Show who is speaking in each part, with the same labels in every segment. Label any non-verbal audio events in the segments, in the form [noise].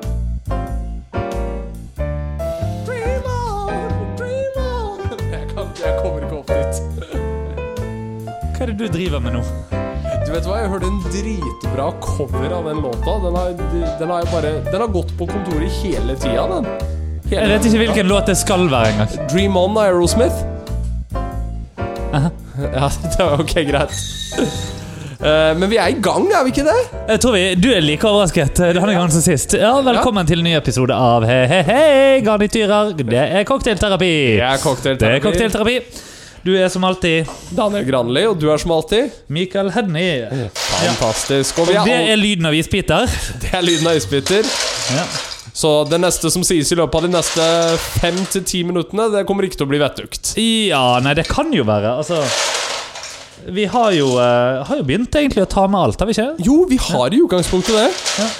Speaker 1: [laughs]
Speaker 2: Hva er det du driver med nå?
Speaker 1: Du vet hva, jeg hørte en dritbra cover av den låta. Den har, den har, jeg bare, den har gått på kontoret hele tida, den. Hele
Speaker 2: Jeg vet ikke hvilken låt det skal være engang.
Speaker 1: Dream On av Aerosmith. [laughs] Ja, det var ok, greit. [laughs] Eh, men vi er i gang, er vi ikke det?
Speaker 2: Jeg tror vi, Du er like overrasket eh, denne gangen som sist. Ja, Velkommen til en ny episode av Hei, hei, hei, garnityrer. Det er cocktailterapi.
Speaker 1: Det er
Speaker 2: Det er
Speaker 1: cocktailterapi.
Speaker 2: cocktailterapi. Du er som alltid
Speaker 1: Daniel Granli, og du er som alltid
Speaker 2: Michael Hedny.
Speaker 1: fantastisk. Og vi
Speaker 2: Det
Speaker 1: er,
Speaker 2: er lyden av isbiter.
Speaker 1: all- det er lyden av isbiter.
Speaker 2: Ja.
Speaker 1: Så det neste som sies i løpet av de neste fem til ti minuttene, det kommer ikke til å bli vettugt.
Speaker 2: ja, nei, det kan jo være. Altså Vi har jo, eh, har jo begynt egentlig å ta med alt, har vi ikke?
Speaker 1: Jo, vi har i utgangspunktet det.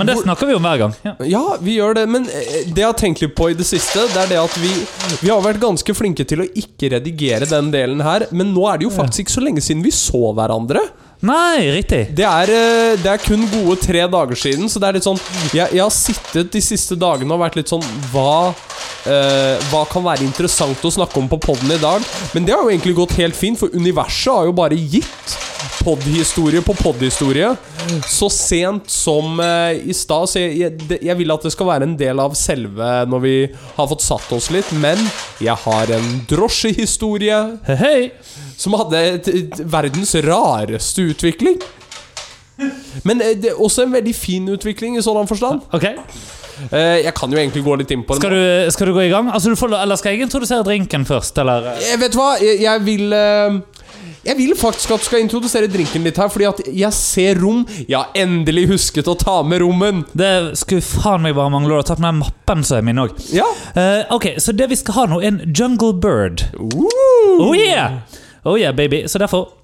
Speaker 2: Men det snakker vi om hver gang. Ja.
Speaker 1: Ja, vi gjør det, men eh, det jeg har tenkt litt på i det siste, det er det at vi, vi har vært ganske flinke til å ikke redigere den delen her, men nå er det jo faktisk ikke så lenge siden vi så hverandre.
Speaker 2: Nei, riktig.
Speaker 1: Det er, eh, det er kun gode tre dager siden, så det er litt sånn Jeg, jeg har sittet de siste dagene og vært litt sånn Hva eh, hva kan være interessant å snakke om på poden i dag? Men det har jo egentlig gått helt fint, for universet har jo bare gitt podhistorie på podhistorie. Så sent som eh, i stad. Så jeg, jeg, det- jeg vil at det skal være en del av selve når vi har fått satt oss litt. Men jeg har en drosjehistorie
Speaker 2: Hei, hei.
Speaker 1: som hadde et, et, verdens rareste utvikling. Men eh, det er også en veldig fin utvikling i sådan forstand.
Speaker 2: Ok.
Speaker 1: Eh, Jeg kan jo egentlig gå litt inn på den.
Speaker 2: Skal du, skal du gå i gang? Altså, du får, lo- eller skal jeg introdusere drinken først? Eller?
Speaker 1: Jeg Eh, vet du hva, jeg, jeg vil eh, Jeg vil faktisk at du skal introdusere drinken litt her, fordi at jeg ser rom. Jeg har endelig husket å ta med rommen.
Speaker 2: Det skulle faen meg bare mangle. Du har tatt med mappen som er min òg.
Speaker 1: Ja.
Speaker 2: ok, så det vi skal ha nå, er en jungle bird.
Speaker 1: Woo!
Speaker 2: Oh yeah! Oh yeah, baby. Så derfor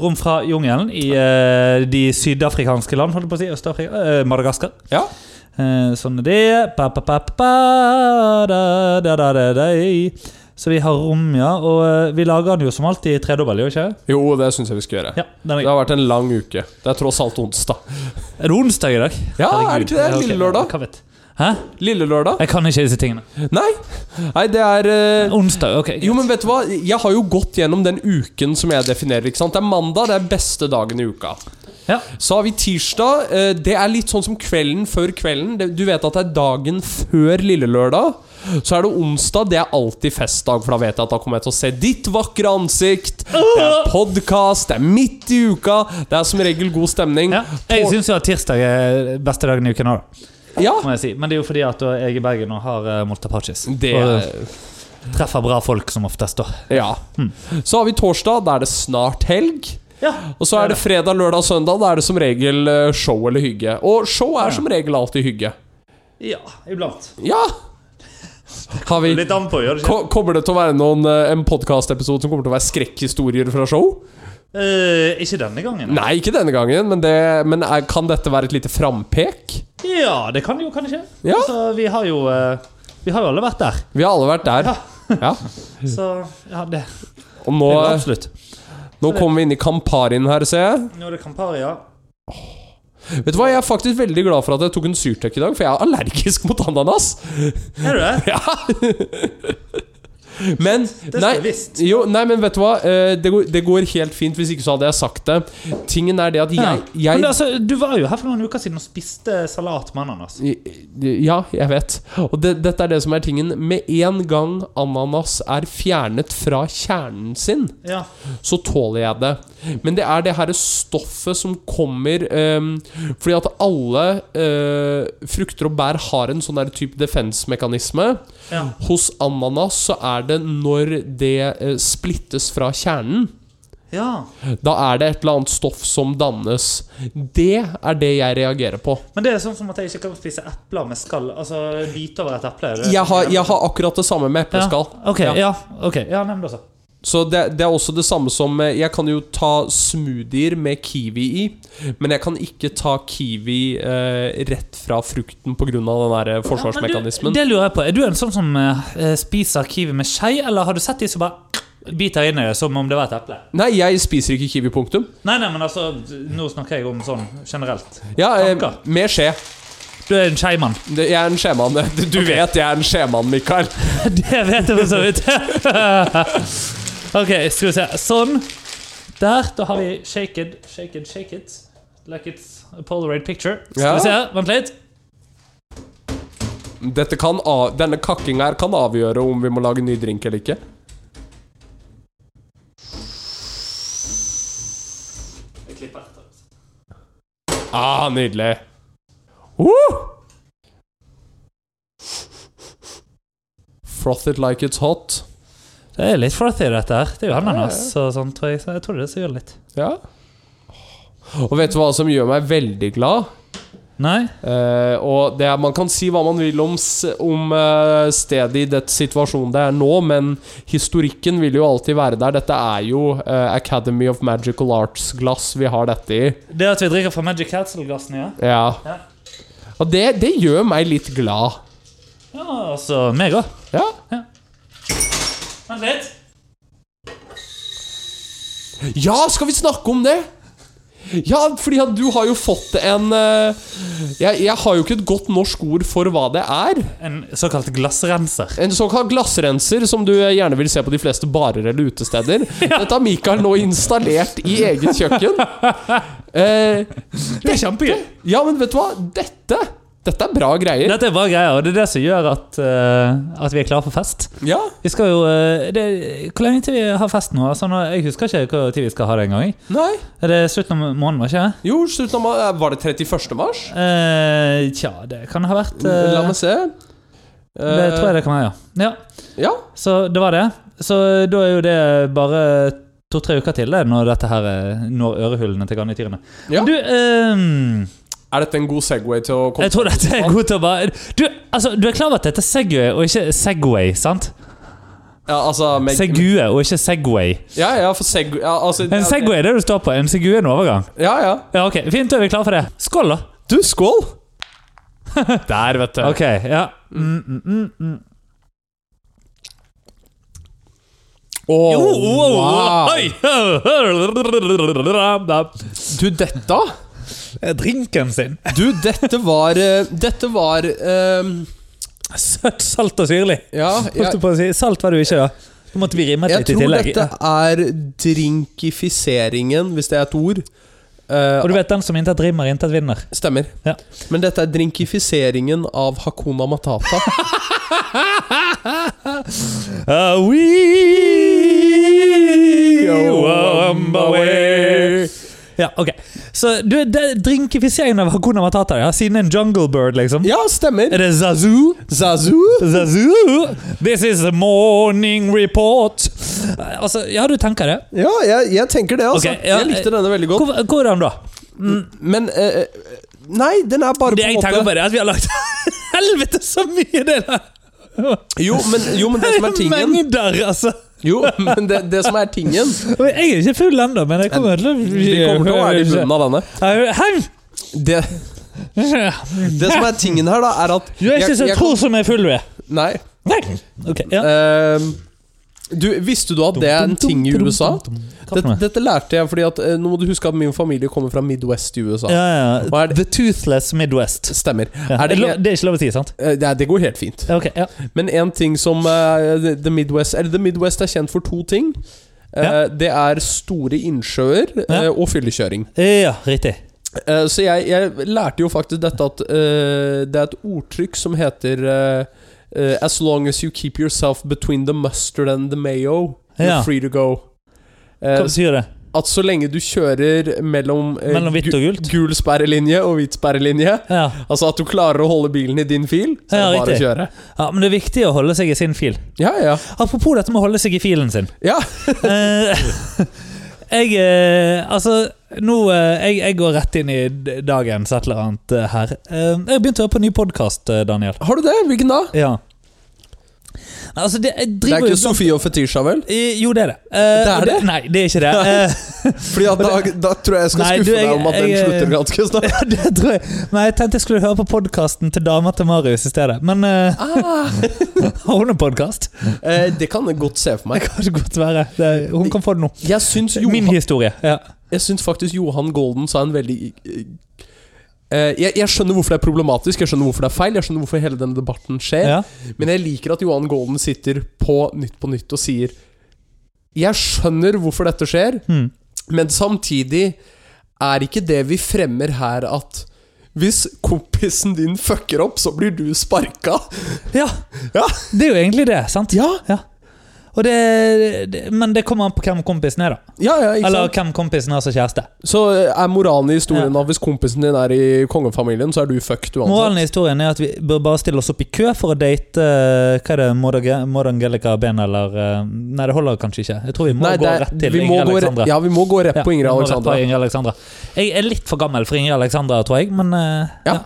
Speaker 2: Rom fra jungelen i eh, de sydafrikanske land, holdt jeg på å si. Øst-Afrika. eh, Madagaskar.
Speaker 1: Ja.
Speaker 2: Eh, sånn er det. Pa, pa, pa, pa, pa, da, da, da, da, da. Så vi har rom, ja. Og eh, vi lager den jo som alltid tredobbel, gjør vi ikke?
Speaker 1: Jo, det syns jeg vi skal gjøre.
Speaker 2: Ja, den er
Speaker 1: Det har vært en lang uke. Det er tross alt onsdag.
Speaker 2: Er det onsdag i dag?
Speaker 1: Ja, er det ikke det?
Speaker 2: Ja, ok.
Speaker 1: Lille lørdag?
Speaker 2: Hva vet Hæ?
Speaker 1: Lille lørdag?
Speaker 2: Jeg kan ikke disse tingene.
Speaker 1: Nei. Nei, det er eh,
Speaker 2: Onsdag, ok.
Speaker 1: Jo, men vet du hva? Jeg har jo gått gjennom den uken som jeg definerer. ikke sant? Det er mandag, det er beste dagen i uka.
Speaker 2: Ja.
Speaker 1: Så har vi tirsdag. eh, Det er litt sånn som kvelden før kvelden. Det- Du vet at det er dagen før lille lørdag. Så er det onsdag. Det er alltid festdag, for da vet jeg at da kommer jeg til å se ditt vakre ansikt. Det er podkast, det er midt i uka. Det er som regel god stemning.
Speaker 2: ja. Jeg syns jo at tirsdag er beste dagen i uken òg,
Speaker 1: Ja,
Speaker 2: må jeg si. Men det er jo fordi at da jeg er i Bergen og har uh, Molta Parchis.
Speaker 1: det
Speaker 2: Og eh, treffer bra folk som oftest, da.
Speaker 1: Ja.
Speaker 2: Hmm.
Speaker 1: Så har vi torsdag. Da er det snart helg.
Speaker 2: Ja.
Speaker 1: Og så er det fredag, lørdag, søndag. Da er det som regel eh, show eller hygge. Og show er som regel alltid hygge.
Speaker 2: ja, iblant. [laughs]
Speaker 1: Ja! Har vi
Speaker 2: Litt an på, gjør det ikke?
Speaker 1: Ko- Kommer det til å være noen, eh, en podkastepisode som kommer til å være skrekkhistorier fra show?
Speaker 2: Eh, ikke denne gangen.
Speaker 1: Nei, ikke denne gangen, men, det, men er, kan dette være et lite frampek?
Speaker 2: Ja, det kan jo, kan det ikke?
Speaker 1: Ja.
Speaker 2: Altså, vi har jo eh, Vi har jo alle vært der,
Speaker 1: Vi har alle vært der. [laughs] Ja.
Speaker 2: så ja, det,
Speaker 1: Og
Speaker 2: det
Speaker 1: nå,
Speaker 2: går absolutt.
Speaker 1: nå kommer vi inn i Camparien her, ser jeg.
Speaker 2: Nå er det Campari, ja.
Speaker 1: Vet du hva, Jeg er faktisk veldig glad for at jeg tok en syrtek i dag, for jeg er allergisk mot ananas.
Speaker 2: Er du det?
Speaker 1: [laughs] Ja Men
Speaker 2: skal
Speaker 1: nei,
Speaker 2: jeg visst.
Speaker 1: jo, nei, men vet du hva? Eh, Det går, det går helt fint, hvis ikke så hadde jeg sagt det. Tingen er det at
Speaker 2: Ja.
Speaker 1: jeg, jeg
Speaker 2: Men altså, du var jo her for noen uker siden og spiste salat med ananas.
Speaker 1: Ja, jeg vet. Og det, dette er det som er tingen. Med en gang ananas er fjernet fra kjernen sin,
Speaker 2: Ja.
Speaker 1: så tåler jeg det. Men det er det her stoffet som kommer ehm, Fordi at alle eh, frukter og bær har en sånn der type defensmekanisme.
Speaker 2: ja.
Speaker 1: Hos ananas så er det når det eh, splittes fra kjernen.
Speaker 2: ja.
Speaker 1: Da er det et eller annet stoff som dannes. Det er det jeg reagerer på.
Speaker 2: Men det er sånn som at jeg ikke kan spise epler med skall. Altså bite over et eple. er det-
Speaker 1: Jeg har, jeg har akkurat det samme med epleskall.
Speaker 2: Ja. Ok, ja. ja. ok. Ja, nei, men da så.
Speaker 1: Så det, det er også det samme som eh, Jeg kan jo ta smoothier med kiwi i, men jeg kan ikke ta kiwi eh, rett fra frukten pga. den der eh,
Speaker 2: Ja, men
Speaker 1: forsvarsmekanismen.
Speaker 2: Du, det lurer jeg på. Er du en sånn som eh, spiser kiwi med skje, eller har du sett de som bare biter inn i det som om det var et eple?
Speaker 1: Nei, jeg spiser ikke kiwi, punktum.
Speaker 2: Nei, nei, men altså, nå snakker jeg om sånn generelt.
Speaker 1: Ja, eh,
Speaker 2: Takka.
Speaker 1: med skje.
Speaker 2: Du er en skeimann.
Speaker 1: Det- Jeg er en skjemann. [laughs] Du vet jeg er en skjemann, Mikael.
Speaker 2: Det vet jeg for så vidt. ok, skal vi se. Sånn. Der, da har vi Shake It, Shake It, Shake It. Like it's a Polaroid picture. Skal
Speaker 1: Ja.
Speaker 2: vi se her, vent litt.
Speaker 1: Dette kan av, denne kakkinga her kan avgjøre om vi må lage ny drink eller ikke.
Speaker 2: Jeg klipper altså. etter.
Speaker 1: Ah, nydelig. Woo! Froth it like it's hot.
Speaker 2: Det er litt frothy, dette her. Det er jo ananas og sånn, tror jeg. Så jeg tror det er det som gjør litt.
Speaker 1: Ja. Og vet du hva som gjør meg veldig glad?
Speaker 2: Nei?
Speaker 1: Eh, og det er, Man kan si hva man vil om, s- om eh, stedet i den situasjonen det er nå, men historikken vil jo alltid være der. Dette er jo eh, Academy of Magical Arts-glass vi har dette i.
Speaker 2: Det at vi drikker fra Magic Castle-glassene, ja.
Speaker 1: Ja.
Speaker 2: Ja.
Speaker 1: Og det, det gjør meg litt glad.
Speaker 2: Ja, altså meg òg.
Speaker 1: Ja.
Speaker 2: Vent litt.
Speaker 1: ja, skal vi snakke om det? Ja, fordi at du har jo fått en eh, jeg, jeg har jo ikke et godt norsk ord for hva det er.
Speaker 2: En såkalt glassrenser.
Speaker 1: En såkalt glassrenser som du gjerne vil se på de fleste barer eller
Speaker 2: [laughs]
Speaker 1: utesteder. Dette har Mikael nå installert i eget kjøkken. Eh,
Speaker 2: Det er kjempegøy.
Speaker 1: ja, men vet du hva? Dette Dette er bra greier.
Speaker 2: Dette er bra greier, og det er det som gjør at, eh, at vi er klare for fest.
Speaker 1: Ja,
Speaker 2: Vi skal jo eh, det, Hvor lenge til vi har fest nå? Altså, nå jeg husker ikke når vi skal ha det engang.
Speaker 1: nei
Speaker 2: Er det slutten av måneden, var ikke det?
Speaker 1: Jo, slutt nå. ma- Var det 31. mars?
Speaker 2: Eh, tja, det kan ha vært eh,
Speaker 1: La meg se. Eh,
Speaker 2: Det tror jeg det kan være, ja. ja.
Speaker 1: Ja.
Speaker 2: Så det var det. Så da er jo det bare to-tre uker til det, når dette her eh, når ørehullene til garnityrene.
Speaker 1: Ja.
Speaker 2: Du, ehm,
Speaker 1: Er dette en god Segway til å komme
Speaker 2: jeg tror dette er god til å bare Du, altså, du er klar over at dette er Segway og ikke Segway, sant?
Speaker 1: Ja, altså meg-
Speaker 2: Segue og ikke Segway.
Speaker 1: Ja, ja, for Segway ja, altså,
Speaker 2: En Segway er det du står på, en Segue er en overgang.
Speaker 1: Ja, ja.
Speaker 2: Ja, ok, Fint, da er vi klare for det. Skål, da!
Speaker 1: Du, skål! Der, vet du.
Speaker 2: Ok, ja. Mm, mm, mm, mm.
Speaker 1: Åh,
Speaker 2: Jo,
Speaker 1: oh,
Speaker 2: wow,
Speaker 1: wow. [laughs]
Speaker 2: oi.
Speaker 1: Du, dette Eh,
Speaker 2: Drinken sin.
Speaker 1: Du, dette var eh, Dette var eh,
Speaker 2: Søtt, salt og syrlig.
Speaker 1: Ja,
Speaker 2: Holdt
Speaker 1: jeg,
Speaker 2: du på å si Salt var du ikke, da. Da måtte vi rime
Speaker 1: jeg
Speaker 2: litt i
Speaker 1: tror
Speaker 2: tillegg.
Speaker 1: dette er drinkifiseringen, hvis det er et ord. Eh,
Speaker 2: Og du vet den som intet rimer, intet vinner.
Speaker 1: stemmer.
Speaker 2: Ja.
Speaker 1: Men dette er drinkifiseringen av Hakuna Matata. Ah,
Speaker 2: Ja, ok Så du, det er drinkifiseringen av Hakuna Matata, ja. Siden en jungle bird, liksom.
Speaker 1: [laughs] ja, stemmer.
Speaker 2: Er det Zazu?
Speaker 1: Zazu.
Speaker 2: Zazu? This is a morning report. Altså, ja, du tenker det.
Speaker 1: Ja, jeg, jeg tenker det, altså.
Speaker 2: Ok, ja,
Speaker 1: jeg likte denne veldig godt.
Speaker 2: Hvor, hvordan da?
Speaker 1: Men eh, eh, Nei, den er bare
Speaker 2: Det jeg
Speaker 1: på en
Speaker 2: tenker på,
Speaker 1: måte
Speaker 2: er at vi har lagt [laughs] helvete så mye i det der!
Speaker 1: jo men, jo, men det som [laughs] er tingen
Speaker 2: Mengder, altså.
Speaker 1: Jo, men det, det som er tingen
Speaker 2: Og Jeg er ikke full ennå, men jeg kommer til å
Speaker 1: [laughs] Vi kommer til å være i bunnen av denne.
Speaker 2: Hei!
Speaker 1: Det, det som er tingen her, da, er at
Speaker 2: Du er ikke så
Speaker 1: jeg-
Speaker 2: tro som jeg er full, du er.
Speaker 1: Nei.
Speaker 2: Nei. Ok, ja.
Speaker 1: Ehm, du, visste du at Eh, det er en ting i USA? Dette,
Speaker 2: Det,
Speaker 1: dette lærte jeg fordi at eh, Nå må du huske at min familie kommer fra Midwest i USA.
Speaker 2: ja, ja.
Speaker 1: Hva er
Speaker 2: The Toothless Midwest.
Speaker 1: Stemmer.
Speaker 2: Ja.
Speaker 1: Er det,
Speaker 2: Lo- det er ikke lov å si, sant?
Speaker 1: eh, det, det går helt fint.
Speaker 2: Ja, Ok, ja.
Speaker 1: Men én ting som eh, the- the, Midwest, eller the Midwest er kjent for to ting. Eh,
Speaker 2: Ja.
Speaker 1: Det er store innsjøer eh,
Speaker 2: Ja.
Speaker 1: og fyllekjøring.
Speaker 2: Ja, riktig.
Speaker 1: Eh, Så jeg, jeg lærte jo faktisk dette at eh, det er et ordtrykk som heter eh, eh, As long as you keep yourself between the mustard and the mayo, you're
Speaker 2: Ja.
Speaker 1: free to go. Eh,
Speaker 2: Hva betyr det?
Speaker 1: at så lenge du kjører mellom, eh,
Speaker 2: Mellom hvitt
Speaker 1: gu-
Speaker 2: og gult?
Speaker 1: gul sperrelinje og hvit sperrelinje,
Speaker 2: Ja.
Speaker 1: altså at du klarer å holde bilen i din fil, så er det
Speaker 2: Ja,
Speaker 1: bare å
Speaker 2: riktig.
Speaker 1: kjøre.
Speaker 2: ja, Men det er viktig å holde seg i sin fil.
Speaker 1: Ja, ja.
Speaker 2: Apropos dette med å holde seg i
Speaker 1: [laughs]
Speaker 2: filen sin.
Speaker 1: Ja,
Speaker 2: Eh, [laughs] jeg eh, Altså, nå eh, jeg, jeg går rett inn i d- dagens et eller annet eh, her. Eh, jeg har begynt å høre på en ny podkast, Daniel.
Speaker 1: Har du det? Hvilken da?
Speaker 2: Ja. Nei, Altså, det, jeg
Speaker 1: Det er
Speaker 2: driver
Speaker 1: ikke
Speaker 2: jo blant-
Speaker 1: Sofie og Fetisha, vel?
Speaker 2: Eh, Jo, det er det. Eh,
Speaker 1: Det er
Speaker 2: og
Speaker 1: det?
Speaker 2: Nei, det er
Speaker 1: [laughs]
Speaker 2: ikke det. Eh, [laughs]
Speaker 1: Fordi at da, da tror jeg jeg skal
Speaker 2: Nei,
Speaker 1: skuffe
Speaker 2: du, jeg-
Speaker 1: deg om at den
Speaker 2: jeg-
Speaker 1: slutter ganske
Speaker 2: [laughs]
Speaker 1: snart.
Speaker 2: ja, det tror jeg. Men jeg tenkte jeg skulle høre på podkasten til dama til Marius i stedet. Men eh, [laughs] har hun en podkast?
Speaker 1: Ah, Eh, det kan jeg godt se for
Speaker 2: Det
Speaker 1: meg.
Speaker 2: kan det godt være. Det, er- hun kan få det nå.
Speaker 1: Jeg syns,
Speaker 2: Min
Speaker 1: Johan,
Speaker 2: historie. Ja.
Speaker 1: jeg syns faktisk Johan Golden sa en veldig eh, jeg, jeg skjønner hvorfor det er problematisk, jeg skjønner hvorfor det er feil, jeg skjønner hvorfor hele denne debatten skjer.
Speaker 2: Ja.
Speaker 1: Men jeg liker at Johan Golden sitter på Nytt på Nytt og sier Jeg skjønner hvorfor dette skjer,
Speaker 2: Hmm.
Speaker 1: Men samtidig er ikke det vi fremmer her at hvis kompisen din fucker opp, så blir du sparka.
Speaker 2: Ja,
Speaker 1: [laughs] Ja.
Speaker 2: det er jo egentlig det, sant?
Speaker 1: Ja,
Speaker 2: Og det, det, men det kommer an på hvem kompisen er, da.
Speaker 1: ja, ja ikke
Speaker 2: Eller
Speaker 1: sant?
Speaker 2: hvem kompisen er som kjæreste.
Speaker 1: Så er moralen i historien at hvis kompisen din er i kongefamilien, så er du fucked uansett.
Speaker 2: Moralen i historien er at vi bør bare stille oss opp i kø for å date eh, Hva er det, Maud Ag- Maud Angelica Ben eller eh, Nei, det holder kanskje ikke. Jeg tror vi må
Speaker 1: Nei,
Speaker 2: gå
Speaker 1: det er-
Speaker 2: rett til
Speaker 1: vi må
Speaker 2: Ingrid
Speaker 1: gå re-
Speaker 2: Alexandra.
Speaker 1: Ja, vi må gå rett
Speaker 2: Ja,
Speaker 1: på Ingrid
Speaker 2: vi må rett
Speaker 1: Alexandra.
Speaker 2: på Ingrid Alexandra. Jeg er litt for gammel for Ingrid Alexandra, tror jeg, men eh,
Speaker 1: Ja.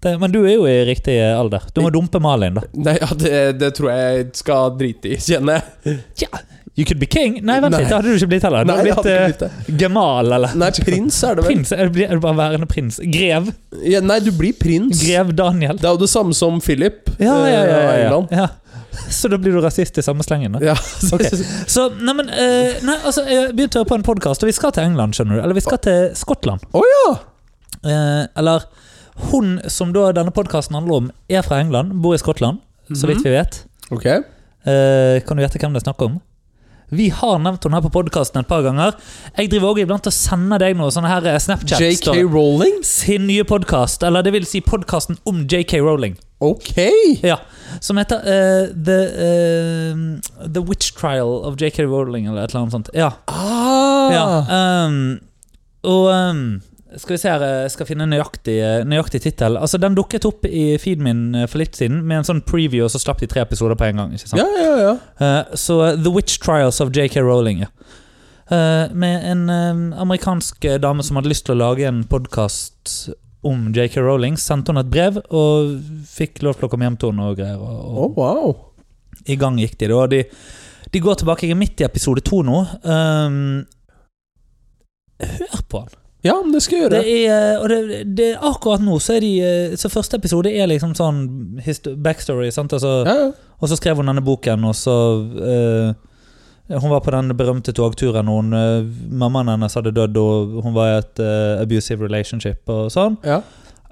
Speaker 2: Det, men du er jo i riktig eh, alder. Du må dumpe Malin, da.
Speaker 1: Nei, ja, det, det tror jeg jeg skal drite i, kjenner jeg.
Speaker 2: You could be king! Nei, vent
Speaker 1: Nei.
Speaker 2: litt, det hadde du ikke blitt heller. Du
Speaker 1: Nei,
Speaker 2: hadde
Speaker 1: jeg
Speaker 2: blitt
Speaker 1: hadde ikke
Speaker 2: eh,
Speaker 1: blitt det.
Speaker 2: gemal, eller
Speaker 1: Nei, prins er det vel.
Speaker 2: Prins? Er du, er du bare værende prins? Grev?
Speaker 1: Ja, nei, du blir prins.
Speaker 2: Grev Daniel?
Speaker 1: Det er jo det samme som Philip
Speaker 2: Ja,
Speaker 1: eh,
Speaker 2: ja, ja,
Speaker 1: av
Speaker 2: ja, ja.
Speaker 1: England.
Speaker 2: ja. Så da blir du rasist i samme slengen? da?
Speaker 1: Ja.
Speaker 2: [laughs] Ok. Så, nei, men, eh, nei, altså, Jeg begynte å høre på en podkast, og vi skal til England, skjønner du. Eller vi skal til Skottland.
Speaker 1: Å ja!
Speaker 2: Eh, eller hun som da denne podkasten handler om, er fra England, bor i Skottland, så
Speaker 1: Mhm.
Speaker 2: vidt vi vet.
Speaker 1: Ok.
Speaker 2: Eh, kan du gjette hvem det er snakk om? Vi har nevnt henne her på podkasten et par ganger. Jeg driver også iblant og sender deg noe sånne her eh, Snapchat.
Speaker 1: JK Rowling?
Speaker 2: Sin nye podkast, eller det vil si podkasten om JK Rowling.
Speaker 1: Ok!
Speaker 2: Ja, Som heter eh, The, eh, The Witch Trial of JK Rowling, eller et eller annet sånt. Ja,
Speaker 1: Ah.
Speaker 2: ja ehm, Og ehm, skal vi se her, eh, jeg skal finne en nøyaktig, eh, nøyaktig tittel. Altså, den dukket opp i feeden min eh, for litt siden, med en sånn preview, og så slapp de tre episoder på en gang. ikke sant?
Speaker 1: ja, ja, ja.
Speaker 2: Eh, Så eh, The Witch Trials of J.K. Rowling. Ja. Eh, med en eh, amerikansk eh, dame som hadde lyst til å lage en podkast om J.K. Rowling, sendte hun et brev og fikk lov til å komme hjem til henne og greier. Og,
Speaker 1: Å,
Speaker 2: og
Speaker 1: wow.
Speaker 2: I gang gikk de, da. og De, de går tilbake. Jeg er midt i episode to nå. Ehm, hør på han!
Speaker 1: Ja, men det skal jeg
Speaker 2: Det
Speaker 1: gjøre.
Speaker 2: er, eh, og det, det, akkurat nå så er de eh, Så første episode er liksom sånn histo- backstory. sant? Altså,
Speaker 1: Ja, ja.
Speaker 2: og så skrev hun denne boken, og så eh, Hun var på den berømte togturen. og Hun, eh, mammaen hennes hadde dødd, og hun var i et eh, abusive relationship og sånn.
Speaker 1: Ja.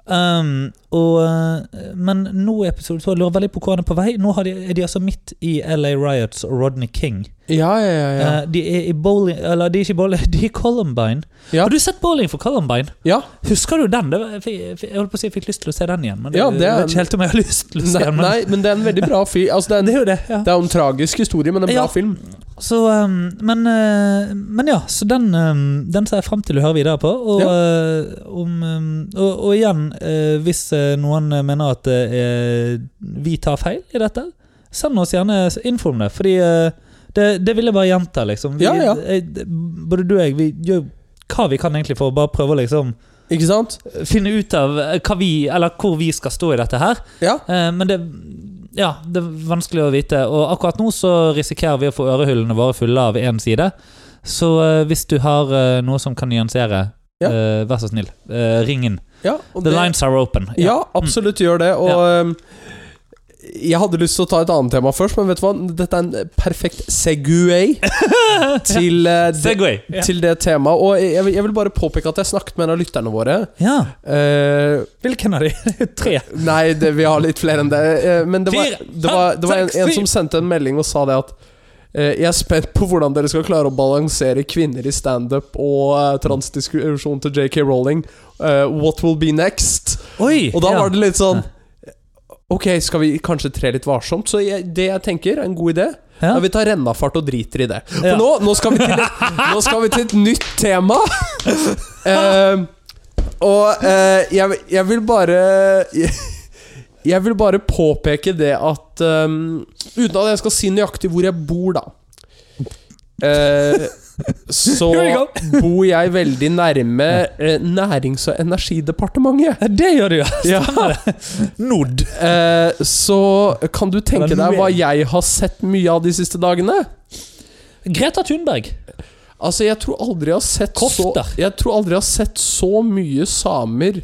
Speaker 2: Um, og, eh, men nå i episode to jeg lurer veldig på hvor han er på vei. Nå har de, er de altså midt i LA Riots og Rodney King.
Speaker 1: Ja, ja, ja. ja.
Speaker 2: Eh, de er i bowling Eller de er ikke i bowling, [laughs] de er i Columbine.
Speaker 1: Ja.
Speaker 2: Har du sett Bowling for Columbine?
Speaker 1: ja.
Speaker 2: Husker du den? Det var, jeg, fikk- jeg, fikk- jeg holdt på å si jeg fikk lyst til å se den igjen, men
Speaker 1: Ja,
Speaker 2: jeg
Speaker 1: det er-
Speaker 2: vet ikke helt om jeg har lyst til å se
Speaker 1: Nei,
Speaker 2: den. Men,
Speaker 1: nei, men det er en veldig bra
Speaker 2: [laughs]
Speaker 1: film. Altså, det, er
Speaker 2: det
Speaker 1: en,
Speaker 2: er jo det. Ja.
Speaker 1: det er jo en tragisk historie, men en bra
Speaker 2: Ja.
Speaker 1: film.
Speaker 2: Så, um, men, eh, men ja, så den, um, den ser jeg frem til å høre videre på. Og,
Speaker 1: Ja.
Speaker 2: eh, om, um, og, og igjen, eh, hvis eh, noen eh, mener at eh, vi tar feil i dette, send oss gjerne info om det. Fordi eh, det, det vil jeg bare gjenta, liksom. Vi,
Speaker 1: Ja, ja.
Speaker 2: eh, det- både du og jeg, vi gjør hva vi kan egentlig for å bare prøve å liksom
Speaker 1: Ikke sant?
Speaker 2: finne ut av eh, hva vi, eller hvor vi skal stå i dette her.
Speaker 1: Ja.
Speaker 2: Eh, Men det, ja, det er vanskelig å vite. Og akkurat nå så risikerer vi å få ørehullene våre fulle av én side. Så eh, hvis du har eh, noe som kan nyansere,
Speaker 1: Ja.
Speaker 2: eh, vær så snill, eh, ring inn.
Speaker 1: ja og
Speaker 2: The
Speaker 1: det-
Speaker 2: lines are open.
Speaker 1: Ja, absolutt gjør det. Og ehm, jeg hadde lyst til å ta et annet tema først, men vet du hva? Dette er en perfekt segway
Speaker 2: [laughs]
Speaker 1: til, eh, det,
Speaker 2: Segway. Ja.
Speaker 1: til det temaet. Og jeg, vil- jeg vil bare påpeke at jeg snakket med en av lytterne våre.
Speaker 2: ja.
Speaker 1: Eh,
Speaker 2: Hvilken av de? [laughs] Tre.
Speaker 1: nei, det, vi har litt flere enn det. Eh, men det var,
Speaker 2: Fire,
Speaker 1: det var, det var
Speaker 2: fem,
Speaker 1: en,
Speaker 2: seks,
Speaker 1: en
Speaker 2: syv.
Speaker 1: som sendte en melding og sa det at eh, jeg er spent på hvordan dere skal klare å balansere kvinner i standup og eh, transdiskusjon til JK Rowling. Eh, what will be next?
Speaker 2: Oi!
Speaker 1: Og da var det litt sånn
Speaker 2: Ja.
Speaker 1: Ok, skal vi kanskje tre litt varsomt? Så jeg, det jeg tenker er en god idé.
Speaker 2: ja.
Speaker 1: Er vi tar rennafart og driter i det. For
Speaker 2: Ja.
Speaker 1: nå, nå, skal vi til,
Speaker 2: [laughs]
Speaker 1: nå skal vi til et nytt tema. Eh, og eh, jeg, jeg vil bare [laughs] jeg, jeg vil bare påpeke det at eh, Uten at jeg skal si nøyaktig hvor jeg bor, da. eh,
Speaker 2: [laughs]
Speaker 1: så
Speaker 2: Here we
Speaker 1: bor jeg veldig nærme eh, Nærings- og energidepartementet.
Speaker 2: Ja, Det gjør du, ja.
Speaker 1: Ja.
Speaker 2: Stemmer det. Nod.
Speaker 1: Eh, så kan du tenke
Speaker 2: Det er
Speaker 1: deg hva
Speaker 2: mer.
Speaker 1: jeg har sett mye av de siste dagene?
Speaker 2: Greta Thunberg.
Speaker 1: Altså, jeg tror aldri jeg har sett
Speaker 2: Kofter.
Speaker 1: så Jeg tror aldri jeg har sett så mye samer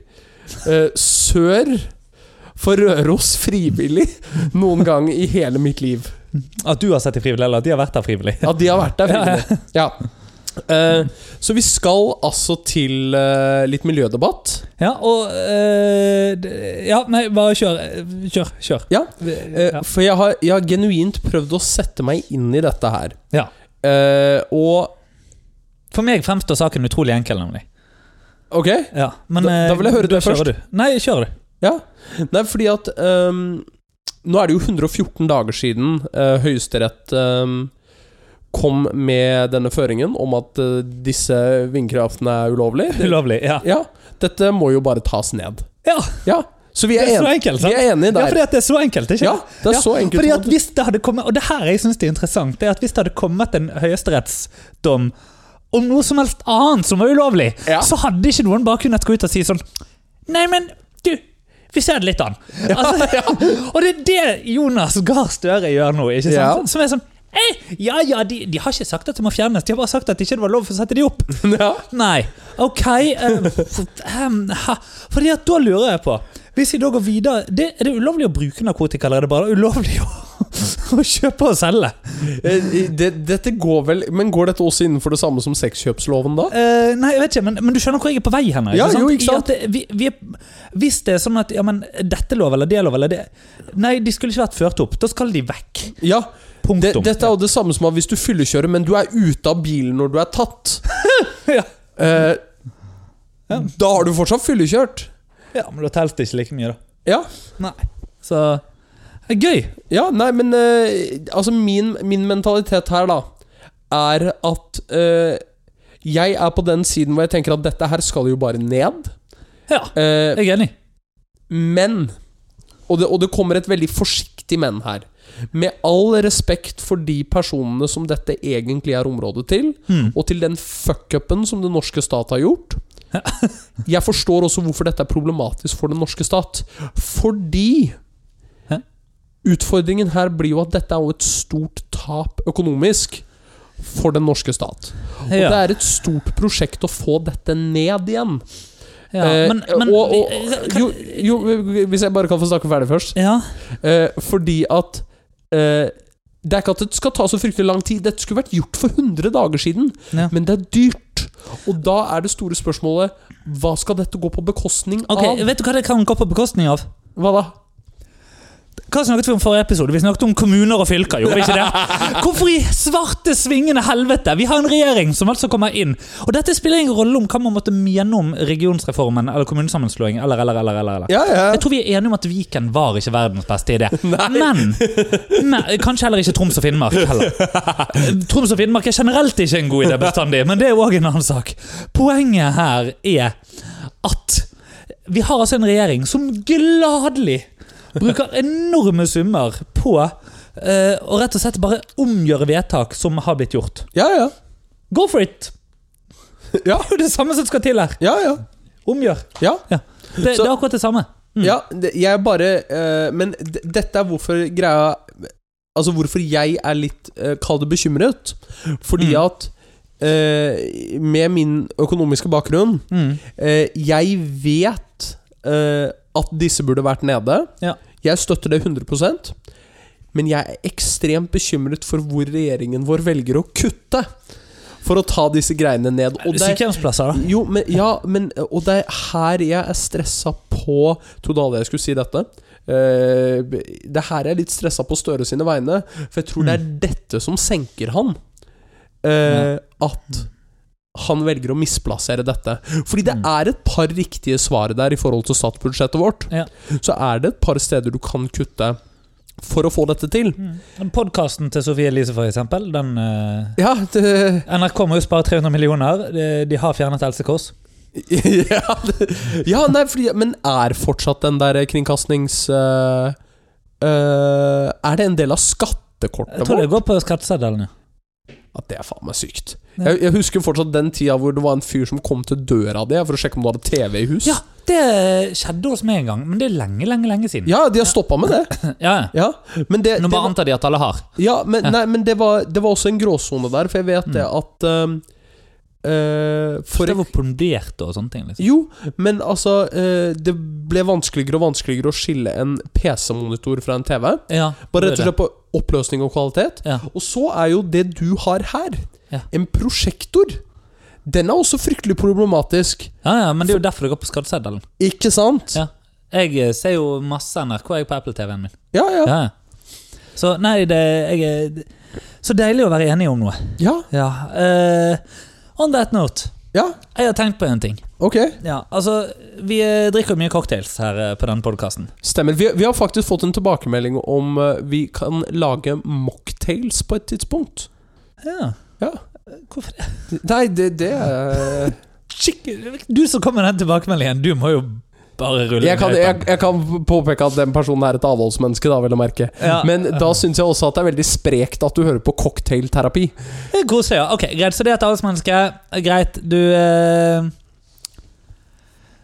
Speaker 1: eh, sør for Røros frivillig noen gang i hele mitt liv.
Speaker 2: At du har sett det frivillig, eller at de har vært der frivillig.
Speaker 1: At de har vært der frivillig. Ja. Eh, så vi skal altså til eh, litt miljødebatt.
Speaker 2: Ja, og eh, det- Ja, nei, bare kjør. Kjør. kjør.
Speaker 1: Ja. Eh,
Speaker 2: Ja.
Speaker 1: For jeg har, jeg har genuint prøvd å sette meg inn i dette her.
Speaker 2: Ja.
Speaker 1: Eh, og
Speaker 2: For meg fremstår saken utrolig enkel, nemlig.
Speaker 1: Ok?
Speaker 2: Ja, men
Speaker 1: Da- da
Speaker 2: eh,
Speaker 1: vil jeg høre
Speaker 2: du
Speaker 1: det
Speaker 2: kjører
Speaker 1: først.
Speaker 2: Du. Nei, kjør du.
Speaker 1: Ja. Nei, fordi at ehm, Nå er det jo 114 dager siden eh, Høyesterett ehm, kom med denne føringen om at eh, disse vindkraftene er ulovlige. Det-
Speaker 2: Ulovlig. Ja.
Speaker 1: Ja, dette må jo bare tas ned.
Speaker 2: Ja.
Speaker 1: Ja, Så vi er,
Speaker 2: Det er så
Speaker 1: en-
Speaker 2: enkelt,
Speaker 1: vi
Speaker 2: sant?
Speaker 1: er enige
Speaker 2: Ja,
Speaker 1: der.
Speaker 2: fordi at det er så enkelt, ikke
Speaker 1: Ja, det er
Speaker 2: Ja,
Speaker 1: så enkelt.
Speaker 2: Fordi
Speaker 1: som
Speaker 2: at hvis det hadde kommet, og det her jeg synes det er interessant, det er at hvis det hadde kommet en høyesterettsdom om noe som helst annet som var ulovlig,
Speaker 1: Ja.
Speaker 2: så hadde ikke noen bare kunnet gå ut og si sånn Nei, men du, vi ser det litt an.
Speaker 1: [laughs]
Speaker 2: Altså, Og det er det Jonas Gahr Støre gjør nå, ikke sant?
Speaker 1: Ja.
Speaker 2: Som er sånn «Eh, ja, ja, de, de har ikke sagt at det må fjernes, de har bare sagt at det ikke var lov for å sette de opp.
Speaker 1: du- [laughs] ja.
Speaker 2: Nei, ok eh, f- ehm, ha, Fordi at da lurer jeg på Hvis vi da går videre det, Er det ulovlig å bruke narkotika, eller er det bare ulovlig å, [laughs] å kjøpe og selge?
Speaker 1: Eh, Det, dette går vel Men går dette også innenfor det samme som sexkjøpsloven, da?
Speaker 2: Eh, nei, jeg vet ikke, men, men du skjønner hvor jeg er på vei hen?
Speaker 1: Ja, jo, ikke
Speaker 2: I
Speaker 1: sant?
Speaker 2: at det- vi, vi er, hvis det er sånn at ja, men, dette lov eller det lov eller det Nei, de skulle ikke vært ført opp. Da skal de vekk.
Speaker 1: Ja. Det,
Speaker 2: Punktum.
Speaker 1: dette er jo det samme som at hvis du fyllekjører, men du er ute av bilen når du er tatt.
Speaker 2: [laughs] Ja.
Speaker 1: Eh,
Speaker 2: Ja.
Speaker 1: Da har du fortsatt fyllekjørt.
Speaker 2: ja, men da telles det ikke like mye, da.
Speaker 1: Ja.
Speaker 2: Nei. Så det er Gøy.
Speaker 1: Ja, nei, men eh, Altså, min, min mentalitet her, da, er at eh, jeg er på den siden hvor jeg tenker at dette her skal jo bare ned.
Speaker 2: Ja,
Speaker 1: Eh,
Speaker 2: jeg er enig.
Speaker 1: men og det, og det kommer et veldig forsiktig men her. Med all respekt for de personene som dette egentlig er området til,
Speaker 2: Mm.
Speaker 1: og til den fuckupen som den norske stat har
Speaker 2: [laughs]
Speaker 1: gjort. Jeg forstår også hvorfor dette er problematisk for den norske stat. Fordi
Speaker 2: Hæ?
Speaker 1: utfordringen her blir jo at dette er jo et stort tap økonomisk for den norske stat. Og
Speaker 2: Ja.
Speaker 1: det er et stort prosjekt å få dette ned igjen.
Speaker 2: Ja,
Speaker 1: Eh,
Speaker 2: men, men
Speaker 1: og,
Speaker 2: vi- eh,
Speaker 1: og, jo, jo, hvis jeg bare kan få snakke ferdig først.
Speaker 2: Ja.
Speaker 1: Eh, fordi at eh, Det er ikke at det skal ta så fryktelig lang tid. Dette skulle vært gjort for 100 dager siden,
Speaker 2: Ja.
Speaker 1: men det er dyrt. Og da er det store spørsmålet Hva skal dette gå på bekostning
Speaker 2: Ok, Vet du hva det kan gå på bekostning av?
Speaker 1: av? Hva da?
Speaker 2: Hva snakket vi om forrige episode? Vi snakket om kommuner og fylker, gjorde vi ikke det? Hvorfor i svarte svingende helvete? Vi har en regjering som altså kommer inn. Og dette spiller ingen rolle om hva man måtte mene om regionsreformen eller kommunesammenslåing eller, eller, eller. eller, eller.
Speaker 1: Ja, ja.
Speaker 2: Jeg tror vi er enige om at Viken var ikke verdens beste
Speaker 1: [laughs]
Speaker 2: idé. Men, men kanskje heller ikke Troms og Finnmark. heller. Troms og Finnmark er generelt ikke en god idé bestandig, men det er òg en annen sak. Poenget her er at vi har altså en regjering som gladelig bruker enorme summer på eh, å rett og slett bare omgjøre vedtak som har blitt gjort.
Speaker 1: Ja, ja.
Speaker 2: Go for it!
Speaker 1: Ja.
Speaker 2: Det er jo det samme som skal til her.
Speaker 1: Ja, ja.
Speaker 2: Omgjør.
Speaker 1: ja.
Speaker 2: Det,
Speaker 1: Så-
Speaker 2: det er akkurat det samme.
Speaker 1: ja det- jeg bare eh, Men d- dette er hvorfor greia Altså hvorfor jeg er litt uh, Kall det bekymret. Fordi
Speaker 2: Mm.
Speaker 1: at eh, Med min økonomiske bakgrunn
Speaker 2: Mm.
Speaker 1: Eh, jeg vet eh, at disse burde vært nede.
Speaker 2: Ja.
Speaker 1: Jeg støtter det 100 men jeg er ekstremt bekymret for hvor regjeringen vår velger å kutte for å ta disse greiene ned. Og det,
Speaker 2: Sykehjemsplasser, da.
Speaker 1: jo, men, ja, men, og det er her jeg er stressa på Trodde aldri jeg skulle si dette. Eh, det her er jeg litt stressa på Støre sine vegne, for jeg tror det
Speaker 2: Mm.
Speaker 1: er dette som senker han. Eh, At han velger å misplassere dette. Fordi det
Speaker 2: Mm.
Speaker 1: er et par riktige svar der i forhold til statsbudsjettet vårt.
Speaker 2: Ja.
Speaker 1: Så er det et par steder du kan kutte for å få dette til.
Speaker 2: Mm. Podkasten til Sofie Elise, for eksempel. Den, eh,
Speaker 1: Ja, det
Speaker 2: NRK må jo spare 300 millioner. De, de har fjernet Else Kåss.
Speaker 1: [laughs] ja, det, ja, nei, fordi, men er fortsatt den der kringkastings... øh, øh, er det en del av skattekortet
Speaker 2: Jeg tror det
Speaker 1: vårt?
Speaker 2: går på skatteseddelen. ja.
Speaker 1: At det er faen meg sykt.
Speaker 2: Ja.
Speaker 1: Jeg, jeg husker fortsatt den tida hvor det var en fyr som kom til døra di for å sjekke om du hadde TV i hus.
Speaker 2: Ja, det skjedde hos meg en gang, men det er lenge, lenge lenge siden.
Speaker 1: Ja, de har stoppa med det.
Speaker 2: Ja, ja.
Speaker 1: Ja, men det,
Speaker 2: Nå
Speaker 1: det,
Speaker 2: bare
Speaker 1: var,
Speaker 2: antar de at alle har.
Speaker 1: ja, men, nei, men det, var, det var også en gråsone der, for jeg vet det at øh, øh,
Speaker 2: For
Speaker 1: for
Speaker 2: Mm. det var pondert og sånne ting. liksom.
Speaker 1: Jo, men altså øh, Det ble vanskeligere og vanskeligere å skille en PC-monitor fra en TV.
Speaker 2: Ja,
Speaker 1: Bare rett
Speaker 2: det
Speaker 1: og
Speaker 2: er det.
Speaker 1: slett på oppløsning og kvalitet.
Speaker 2: Ja.
Speaker 1: Og så er jo det du har her,
Speaker 2: Ja.
Speaker 1: en prosjektor. Den er også fryktelig problematisk,
Speaker 2: Ja, ja, men det er jo derfor det går på skatteseddelen.
Speaker 1: ikke sant?
Speaker 2: Ja. Jeg eh, ser jo masse NRK jeg på Apple-TV-en min.
Speaker 1: Ja, ja.
Speaker 2: Ja, ja. Så nei, det jeg, er- Så deilig å være enige om noe.
Speaker 1: ja.
Speaker 2: Ja, eh, On that note,
Speaker 1: Ja,
Speaker 2: jeg har tenkt på en ting.
Speaker 1: ok.
Speaker 2: Ja, altså, Vi eh, drikker mye cocktails her eh, på den podkasten.
Speaker 1: Stemmer. Vi, vi har faktisk fått en tilbakemelding om eh, vi kan lage mocktails på et tidspunkt.
Speaker 2: Ja.
Speaker 1: Ja.
Speaker 2: Hvorfor det?
Speaker 1: Nei, det, det er
Speaker 2: Skikk- Du som kom med den tilbakemeldingen, du må jo bare rulle
Speaker 1: jeg kan,
Speaker 2: med
Speaker 1: jeg,
Speaker 2: øyeblikk.
Speaker 1: jeg kan påpeke at den personen er et avholdsmenneske, da, vel å merke.
Speaker 2: Ja.
Speaker 1: Men da syns jeg også at det er veldig sprekt at du hører på cocktailterapi.
Speaker 2: Det er Koselig, ja. Ok, greit. Så det er et avholdsmenneske. Eh, Greit, du eh,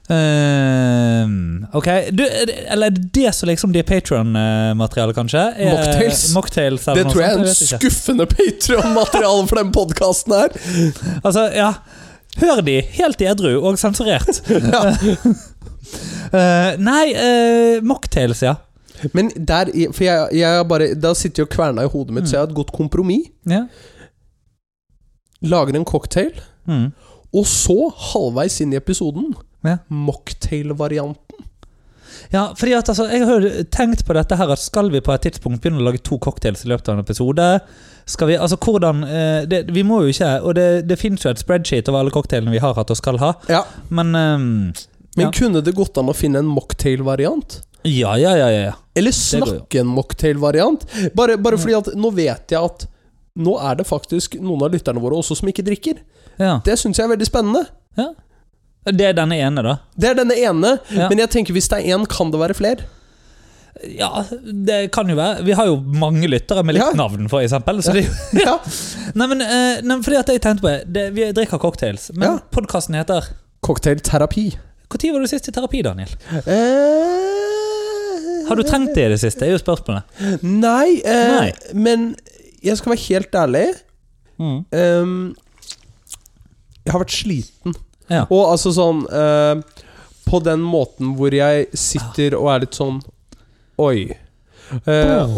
Speaker 2: eh, ok, du, eh, Eller er det det som liksom blir Patron-materiale, kanskje? Er-
Speaker 1: Mocktails.
Speaker 2: mocktails eller
Speaker 1: Det
Speaker 2: noe
Speaker 1: tror jeg
Speaker 2: sånt,
Speaker 1: er en
Speaker 2: vet ikke.
Speaker 1: skuffende Patrion-materiale for den podkasten her.
Speaker 2: Altså, ja Hør de, helt edru og sensurert. Eh, nei, eh, mocktails, ja.
Speaker 1: [laughs] Men der i- For jeg, jeg har bare Det har sittet og kverna i hodet mitt, så jeg har et godt kompromiss.
Speaker 2: ja.
Speaker 1: Lager en cocktail,
Speaker 2: Mm.
Speaker 1: og så, halvveis inn i episoden,
Speaker 2: Ja.
Speaker 1: mocktail-variant.
Speaker 2: Ja, fordi at altså, Jeg har jo tenkt på dette her at skal vi på et tidspunkt begynne å lage to cocktails i løpet av en episode? Skal Vi altså hvordan eh, det, Vi må jo ikke Og det, det fins jo et spreadsheet over alle cocktailene vi har hatt og skal ha,
Speaker 1: Ja.
Speaker 2: men ehm,
Speaker 1: Men
Speaker 2: Ja.
Speaker 1: kunne det gått an å finne en mocktail-variant?
Speaker 2: Ja, ja, ja. ja, ja.
Speaker 1: Eller
Speaker 2: går jo.
Speaker 1: snakke en mocktail-variant? Bare, bare fordi at nå vet jeg at nå er det faktisk noen av lytterne våre også som ikke drikker.
Speaker 2: ja.
Speaker 1: Det syns jeg er veldig spennende.
Speaker 2: Det er denne ene, da.
Speaker 1: Det er denne ene,
Speaker 2: Ja.
Speaker 1: men jeg tenker hvis det er én, kan det være flere.
Speaker 2: Ja, det kan jo være. Vi har jo mange lyttere med litt
Speaker 1: Ja.
Speaker 2: navn, for eksempel. Så det,
Speaker 1: [laughs] Ja.
Speaker 2: nei, men, eh, nei, men fordi at jeg tenkte på det, det Vi drikker cocktails, men
Speaker 1: Ja.
Speaker 2: podkasten heter
Speaker 1: Cocktailterapi.
Speaker 2: Når var du sist i terapi, Daniel?
Speaker 1: Eh,
Speaker 2: Har du trengt det i det siste? er jo spørsmålet.
Speaker 1: Nei, eh,
Speaker 2: Nei.
Speaker 1: men jeg skal være helt ærlig.
Speaker 2: Mm.
Speaker 1: Ehm, jeg har vært sliten.
Speaker 2: Ja.
Speaker 1: Og altså sånn eh, På den måten hvor jeg sitter og er litt sånn Oi. Eh,
Speaker 2: Boom.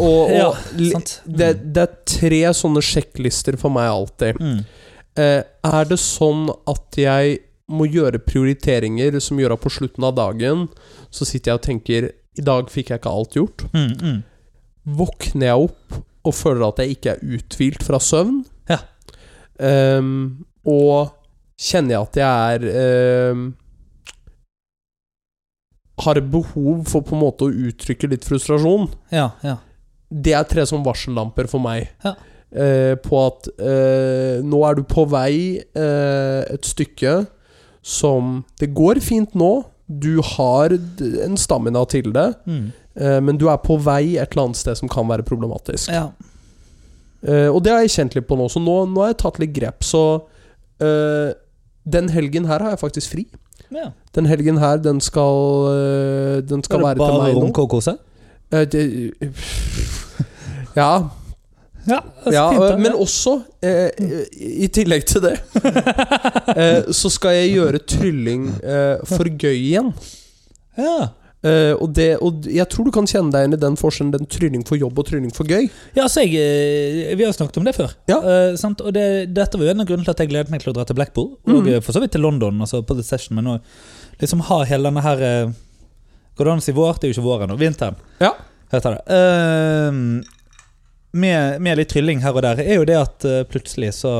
Speaker 1: og og
Speaker 2: Ja,
Speaker 1: li-
Speaker 2: sant. Mm.
Speaker 1: det, det er tre sånne sjekklister for meg alltid.
Speaker 2: Mm.
Speaker 1: Eh, er det sånn at jeg må gjøre prioriteringer som gjør at på slutten av dagen så sitter jeg og tenker I dag fikk jeg ikke alt gjort.
Speaker 2: Mm, mm.
Speaker 1: våkner jeg opp og føler at jeg ikke er uthvilt fra søvn.
Speaker 2: Ja.
Speaker 1: Ehm, og kjenner jeg at jeg er ehm, Har behov for på en måte å uttrykke litt frustrasjon.
Speaker 2: Ja, ja.
Speaker 1: Det er tre som varsellamper for meg.
Speaker 2: Ja.
Speaker 1: Eh, på at eh, nå er du på vei eh, et stykke som Det går fint nå. Du har d- en stamina til det.
Speaker 2: Mm.
Speaker 1: Eh, men du er på vei et eller annet sted som kan være problematisk.
Speaker 2: ja.
Speaker 1: Eh, og det har jeg kjent litt på nå, så nå, nå har jeg tatt litt grep. Så eh, den helgen her har jeg faktisk fri.
Speaker 2: ja.
Speaker 1: Den helgen her, den skal, eh, den skal
Speaker 2: Skal det
Speaker 1: være til
Speaker 2: bare
Speaker 1: meg nå.
Speaker 2: runke og kose?
Speaker 1: Eh, det, ja.
Speaker 2: Ja, øh,
Speaker 1: ja eh, men også, eh, i i tillegg til det, eh, så skal jeg gjøre trylling eh, for gøy igjen.
Speaker 2: [laughs] ja.
Speaker 1: Eh, og, det, og jeg tror du kan kjenne deg igjen i den forskjellen, den trylling for jobb og trylling for gøy.
Speaker 2: ja, så jeg eh, Vi har jo snakket om det før.
Speaker 1: Ja.
Speaker 2: Eh, sant? Og det, dette var jo en av grunnene til at jeg gledet meg til å dra til Blackpool, og
Speaker 1: Mm.
Speaker 2: eh, for så vidt til London, altså på The Session, men òg liksom ha hele denne her eh, Går det an å si vår? Det er jo ikke vår ennå. Vinteren.
Speaker 1: Ja.
Speaker 2: Heter det. Eh, med, med litt trylling her og der, er jo det at eh, plutselig så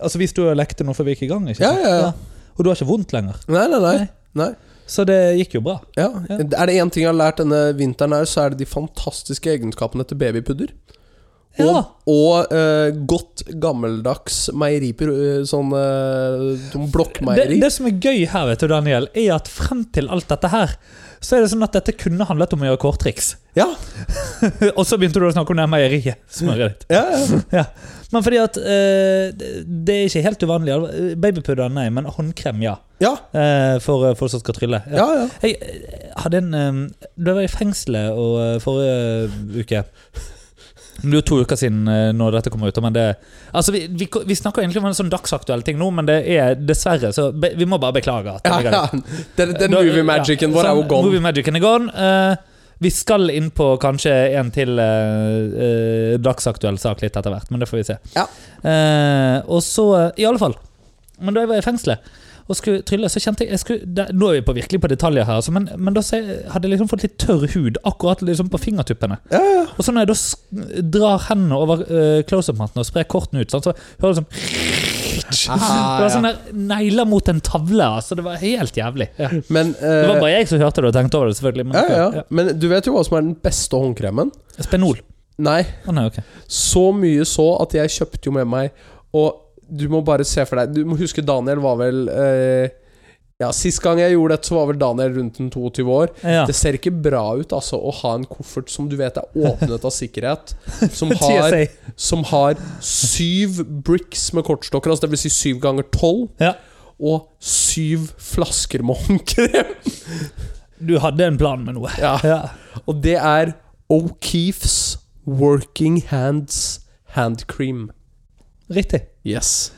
Speaker 2: Altså, vi sto og lekte nå før vi gikk i gang, ikke
Speaker 1: Ja,
Speaker 2: sant?
Speaker 1: ja, ja.
Speaker 2: Og du har ikke vondt lenger.
Speaker 1: Nei, nei, nei.
Speaker 2: Nei.
Speaker 1: nei.
Speaker 2: Så det gikk jo bra.
Speaker 1: Ja.
Speaker 2: Ja.
Speaker 1: Er det én ting jeg har lært denne vinteren, her, så er det de fantastiske egenskapene til babypudder. Og,
Speaker 2: Ja.
Speaker 1: og eh, godt gammeldags meieri eh, Sånn eh, sånn
Speaker 2: Det,
Speaker 1: blokkmeieri.
Speaker 2: det som er gøy her, vet du, Daniel, er at frem til alt dette her, så er det sånn at dette kunne handlet om å gjøre korttriks. [laughs]
Speaker 1: Ja,
Speaker 2: Og så begynte du å snakke om det meieriet. Smøret ditt.
Speaker 1: ja, ja.
Speaker 2: Ja. Men fordi at eh, det- Det er ikke helt uvanlig. Eh, Babypudder, nei, men håndkrem, ja.
Speaker 1: Ja,
Speaker 2: Eh, for eh, folk som skal trylle.
Speaker 1: ja, ja.
Speaker 2: Jeg eh, hadde en eh, Da jeg var i fengselet og, eh, forrige uke Det blir jo to uker siden eh, når dette kommer ut. Men det, altså vi, vi, vi snakker egentlig om en sånn dagsaktuell ting nå, men det er dessverre Så be, vi må bare beklage. At det
Speaker 1: ja,
Speaker 2: ligger
Speaker 1: ja.
Speaker 2: der.
Speaker 1: [laughs] Den, den
Speaker 2: Da-
Speaker 1: movie magicen
Speaker 2: ja,
Speaker 1: vår er jo
Speaker 2: sånn,
Speaker 1: gone. [laughs]
Speaker 2: Movie magicen er gone. Eh, vi skal inn på kanskje en til eh, eh, dagsaktuell sak litt etter hvert, men det får vi se.
Speaker 1: Ja.
Speaker 2: Eh, og så I alle fall. Men da jeg var i fengselet og skulle trylle, så kjente jeg, jeg skulle, det, Nå er vi på virkelig på detaljer her, altså, men, men da se, hadde jeg liksom fått litt tørr hud akkurat liksom på fingertuppene.
Speaker 1: Ja, ja.
Speaker 2: Og så når jeg da sk- drar hendene over eh, close-up-matten og sprer kortene ut, sånn, så hører jeg sånn bitch!
Speaker 1: Ah,
Speaker 2: Det var sånn der negler mot en tavle, altså. Det var helt jævlig. Ja.
Speaker 1: Men,
Speaker 2: sånn- Det var
Speaker 1: eh,
Speaker 2: bare jeg som hørte det og tenkte over det, selvfølgelig. Men,
Speaker 1: ja, ja. Men du vet jo hva som er den beste håndkremen?
Speaker 2: ja. Spenol.
Speaker 1: Nei,
Speaker 2: Å nei, ok.
Speaker 1: så mye så at jeg kjøpte jo med meg Og du må bare se for deg Du må huske Daniel var vel eh, Ja, sist gang jeg gjorde dette, så var vel Daniel rundt en 22 år.
Speaker 2: Ja.
Speaker 1: Det ser ikke bra ut altså å ha en koffert som du vet er åpnet av
Speaker 2: [laughs]
Speaker 1: sikkerhet, som har,
Speaker 2: TSA.
Speaker 1: som har syv bricks med kortstokker, altså det vil si syv ganger tolv,
Speaker 2: Ja.
Speaker 1: og syv flasker med håndkrem.
Speaker 2: Du hadde en plan med noe.
Speaker 1: Ja.
Speaker 2: Ja.
Speaker 1: Og det er O'Keefe's Working Hands Hand Cream.
Speaker 2: Riktig.
Speaker 1: Yes.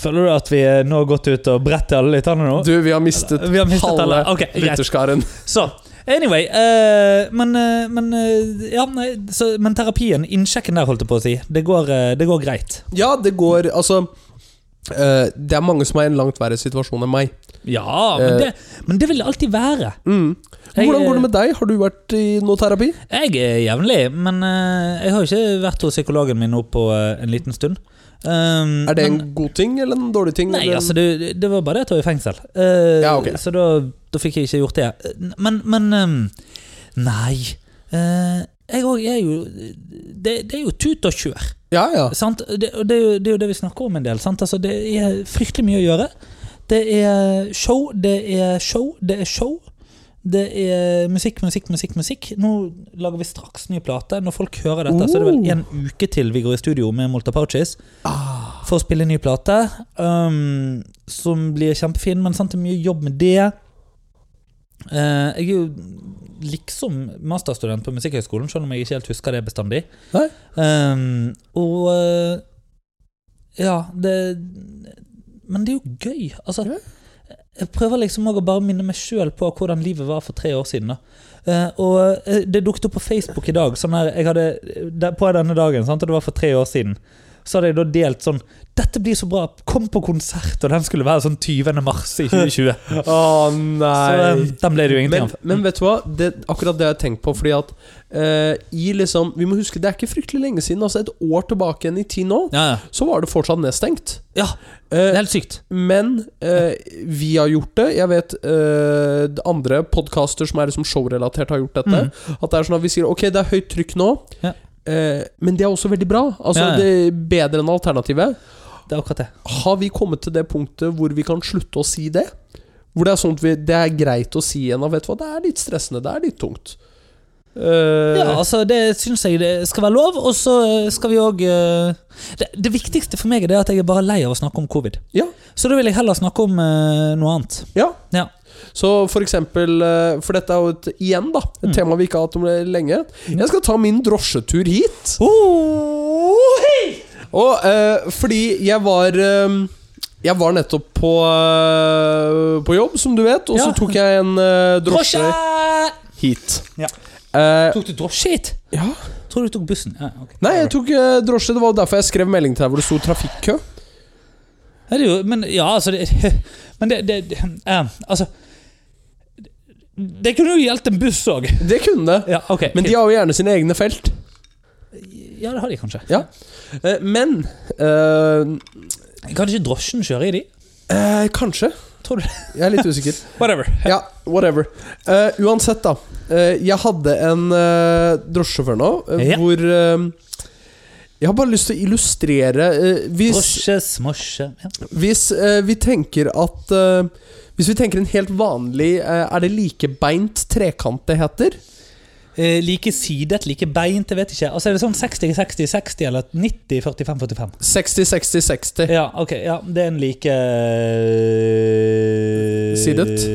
Speaker 2: Føler du at vi eh, nå har gått ut og bretter alle litt nå?
Speaker 1: Du, vi har mistet,
Speaker 2: Vi har mistet
Speaker 1: halve
Speaker 2: alle. Ok, greit.
Speaker 1: lytterskaren.
Speaker 2: Så, anyway eh, Men, eh, men eh, ja, nei, så, Men terapien, innsjekken der, holdt jeg på å si, det går, eh, det går greit.
Speaker 1: Ja, det går Altså eh, Det er mange som er i en langt verre situasjon enn meg.
Speaker 2: Ja, men
Speaker 1: Eh.
Speaker 2: det, men det vil det alltid være.
Speaker 1: Mm.
Speaker 2: Jeg,
Speaker 1: Hvordan går
Speaker 2: eh,
Speaker 1: det med deg? Har du vært i noe terapi?
Speaker 2: Jeg er jevnlig, men eh, jeg har jo ikke vært hos psykologen min nå på eh, en liten stund. Um,
Speaker 1: Er det en
Speaker 2: men-
Speaker 1: god ting eller en dårlig ting?
Speaker 2: Nei,
Speaker 1: eller en-
Speaker 2: altså, det, det var bare det at jeg var i fengsel. Eh,
Speaker 1: Ja, ok.
Speaker 2: Så da, da fikk jeg ikke gjort det. Eh, Men, men ehm, Nei. Eh, jeg òg er jo det, det er jo tut og kjør.
Speaker 1: Ja, ja.
Speaker 2: Sant? Det, og det, er jo- det er jo det vi snakker om en del. Sant? Altså, det er fryktelig mye å gjøre. Det er show, det er show, det er show. Det er musikk, musikk, musikk. musikk Nå lager vi straks ny plate. Når folk hører dette, så er det vel
Speaker 1: Oh.
Speaker 2: en uke til vi går i studio med Molta Pouches for å spille ny plate. Um, som blir kjempefin, men sant, det er mye jobb med det. Eh, jeg er jo liksom masterstudent på Musikkhøgskolen, selv om jeg ikke helt husker det bestandig.
Speaker 1: Nei.
Speaker 2: Ehm, og eh, Ja, det Men det er jo gøy. Altså, jeg prøver liksom også å bare minne meg sjøl på hvordan livet var for tre år siden. da. Eh, og eh, Det dukket opp på Facebook i dag. Sånn her, jeg hadde, der, på denne dagen, sant, og det var for tre år siden, så hadde jeg da delt sånn 'Dette blir så bra! Kom på konsert!' Og den skulle være sånn 20. mars i [laughs] 2020.
Speaker 1: Å, nei.
Speaker 2: Så eh, den ble det jo ingenting
Speaker 1: men,
Speaker 2: av.
Speaker 1: men vet du hva? Det, akkurat det har jeg tenkt på. Fordi at eh, i liksom Vi må huske, det er ikke fryktelig lenge siden. Altså Et år tilbake igjen i tid nå,
Speaker 2: Ja, ja.
Speaker 1: så var det fortsatt nedstengt.
Speaker 2: ja, det
Speaker 1: Eh,
Speaker 2: er helt sykt.
Speaker 1: Men eh, vi har gjort det. Jeg vet eh, andre podkaster som er liksom showrelatert, har gjort dette. At det er sånn at vi sier ok, det er høyt trykk nå,
Speaker 2: Mm. Ja.
Speaker 1: eh, men det er også veldig bra. Altså
Speaker 2: Ja, ja.
Speaker 1: det er Bedre enn alternativet.
Speaker 2: Det er akkurat det.
Speaker 1: Har vi kommet til det punktet hvor vi kan slutte å si det? Hvor det er sånn at vi, det er greit å si igjen at vet du hva, det er litt stressende, det er litt tungt. Eh,
Speaker 2: Ja, altså det syns jeg det skal være lov, og så eh, skal vi òg det, det viktigste for meg er det at jeg er bare lei av å snakke om covid.
Speaker 1: Ja.
Speaker 2: Så da vil jeg heller snakke om eh, noe annet.
Speaker 1: Ja.
Speaker 2: Ja.
Speaker 1: Så for eksempel eh, For dette er jo et, igjen da et
Speaker 2: Mm.
Speaker 1: tema vi ikke har hatt om det lenge. Jeg skal ta min drosjetur hit. Og eh, fordi jeg var eh, Jeg var nettopp på, eh, på jobb, som du vet, og så
Speaker 2: Ja.
Speaker 1: tok jeg en eh, drosje,
Speaker 2: Drosje!
Speaker 1: hit.
Speaker 2: Ja.
Speaker 1: Eh,
Speaker 2: Tok du drosje hit?
Speaker 1: ja.
Speaker 2: Tror du tok bussen. Ja, ok.
Speaker 1: Nei, jeg tok eh, drosje. Det var jo derfor jeg skrev melding til deg hvor det sto trafikkø.
Speaker 2: Ja, det er jo, men ja, altså det, [laughs] Men det, det eh, Altså Det kunne jo gjeldt en buss òg.
Speaker 1: Det kunne det.
Speaker 2: Ja, ok.
Speaker 1: Men de har jo gjerne sine egne felt.
Speaker 2: ja, det har de kanskje.
Speaker 1: Ja. Eh, men eh,
Speaker 2: Kan ikke drosjen kjøre i de?
Speaker 1: eh, Kanskje.
Speaker 2: Tror du [laughs] det?
Speaker 1: Jeg er litt usikker.
Speaker 2: Whatever.
Speaker 1: Ja, whatever. Eh, uansett, da. Eh, jeg hadde en eh, drosjesjåfør nå eh,
Speaker 2: Ja.
Speaker 1: hvor eh, Jeg har bare lyst til å illustrere eh, Hvis,
Speaker 2: Drosje, smosje ja.
Speaker 1: hvis eh, vi tenker at eh, Hvis vi tenker en helt vanlig eh, Er det likebeint trekant det heter?
Speaker 2: Eh, like sidet, like beint, jeg vet ikke. Altså Er det sånn 60-60-60 eller 90-45-45?
Speaker 1: 60-60-60.
Speaker 2: Ja, ok. Ja, det er en like eh,
Speaker 1: Sidet?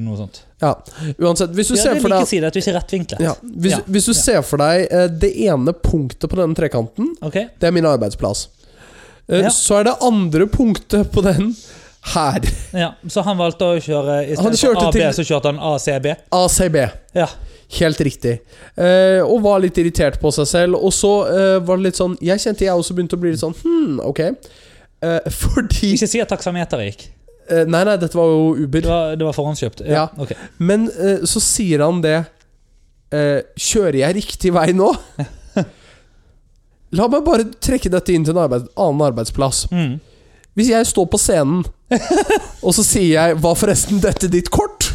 Speaker 2: Noe sånt.
Speaker 1: Ja. Uansett, hvis du
Speaker 2: ja, det
Speaker 1: ser
Speaker 2: er
Speaker 1: for
Speaker 2: like
Speaker 1: deg
Speaker 2: sidet, du er ikke rettvinklet.
Speaker 1: ja, hvis,
Speaker 2: Ja,
Speaker 1: hvis du
Speaker 2: ja.
Speaker 1: ser for deg eh, det ene punktet på denne trekanten,
Speaker 2: Ok?
Speaker 1: det er min arbeidsplass. Eh,
Speaker 2: Ja.
Speaker 1: Så er det andre punktet på den her.
Speaker 2: Ja, Så han valgte å kjøre i
Speaker 1: Han
Speaker 2: stedet
Speaker 1: kjørte
Speaker 2: for AB,
Speaker 1: til-
Speaker 2: så kjørte han ACB?
Speaker 1: ACB.
Speaker 2: Ja.
Speaker 1: Helt riktig. Eh, og var litt irritert på seg selv. Og så eh, var det litt sånn Jeg kjente jeg også begynte å bli litt sånn Hm, ok. Eh, [laughs] fordi
Speaker 2: Ikke si at taksameteret gikk.
Speaker 1: eh, Nei, nei, dette var jo
Speaker 2: Det
Speaker 1: Uber.
Speaker 2: var, det var forhåndskjøpt.
Speaker 1: Ja.
Speaker 2: ok.
Speaker 1: Men eh, så sier han det eh, Kjører jeg riktig vei nå? La meg bare trekke dette inn til en arbeid, annen arbeidsplass.
Speaker 2: Mm.
Speaker 1: Hvis jeg står på
Speaker 2: [laughs]
Speaker 1: scenen, og så sier jeg 'Var forresten dette ditt kort?'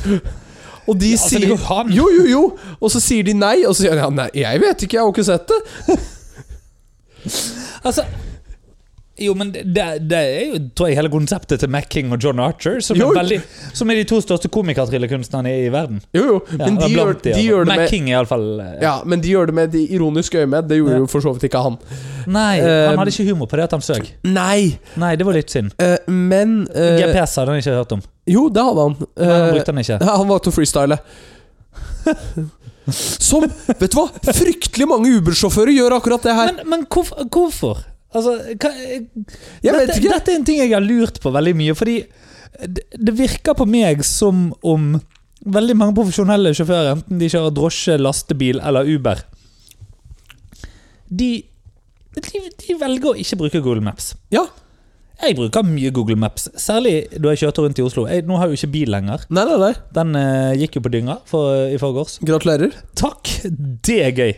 Speaker 1: Og de
Speaker 2: altså, det
Speaker 1: sier
Speaker 2: går an.
Speaker 1: Jo, jo, jo! Og så sier de nei, og så sier de ja, 'Nei, jeg vet ikke, jeg har ikke sett det'.
Speaker 2: Altså jo, men det, det er jo tror jeg, hele konseptet til Macking og John Archer, som,
Speaker 1: Jo.
Speaker 2: er, veldig, som er de to største komikertryllekunstnerne i verden.
Speaker 1: Jo, jo,
Speaker 2: Ja,
Speaker 1: men de, gjør,
Speaker 2: blant
Speaker 1: de
Speaker 2: altså.
Speaker 1: gjør det
Speaker 2: Mac
Speaker 1: med
Speaker 2: King er iallfall ja.
Speaker 1: ja, men de gjør det med de ironiske øyemed. Det gjorde
Speaker 2: Ja.
Speaker 1: jo for så vidt ikke han.
Speaker 2: Nei,
Speaker 1: Eh,
Speaker 2: han hadde ikke humor på det at han søk.
Speaker 1: Nei,
Speaker 2: Nei, det var litt synd.
Speaker 1: eh, men eh,
Speaker 2: GPS hadde han ikke hørt om.
Speaker 1: Jo, det hadde han.
Speaker 2: Nei, han
Speaker 1: Eh,
Speaker 2: brukte han ikke.
Speaker 1: Ja, han valgte å freestyle. Som Vet du hva? Fryktelig mange Uber-sjåfører gjør akkurat det her.
Speaker 2: Men, men hvorfor? hvorfor? Altså, hva,
Speaker 1: Jeg vet
Speaker 2: dette,
Speaker 1: ikke.
Speaker 2: dette er en ting jeg har lurt på veldig mye, fordi det, det virker på meg som om veldig mange profesjonelle sjåfører, enten de kjører drosje, lastebil eller Uber, de, de, de velger å ikke bruke Google Maps.
Speaker 1: Ja.
Speaker 2: Jeg bruker mye Google Maps, særlig da jeg kjørte rundt i Oslo. Jeg, nå har jeg jo ikke bil lenger.
Speaker 1: Nei, nei, nei.
Speaker 2: Den eh, gikk jo på dynga for, i forgårs.
Speaker 1: Gratulerer.
Speaker 2: Takk! Det er [laughs] gøy.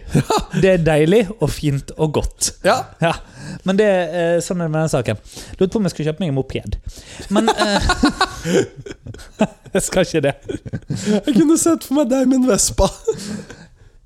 Speaker 2: Det er deilig og fint og godt.
Speaker 1: Ja.
Speaker 2: Ja, Men det eh, sånn er det med den saken. Lurte på om jeg skulle kjøpe meg en moped. Men eh, [laughs] Jeg skal ikke det.
Speaker 1: Jeg kunne sett for meg deg med en Vespa.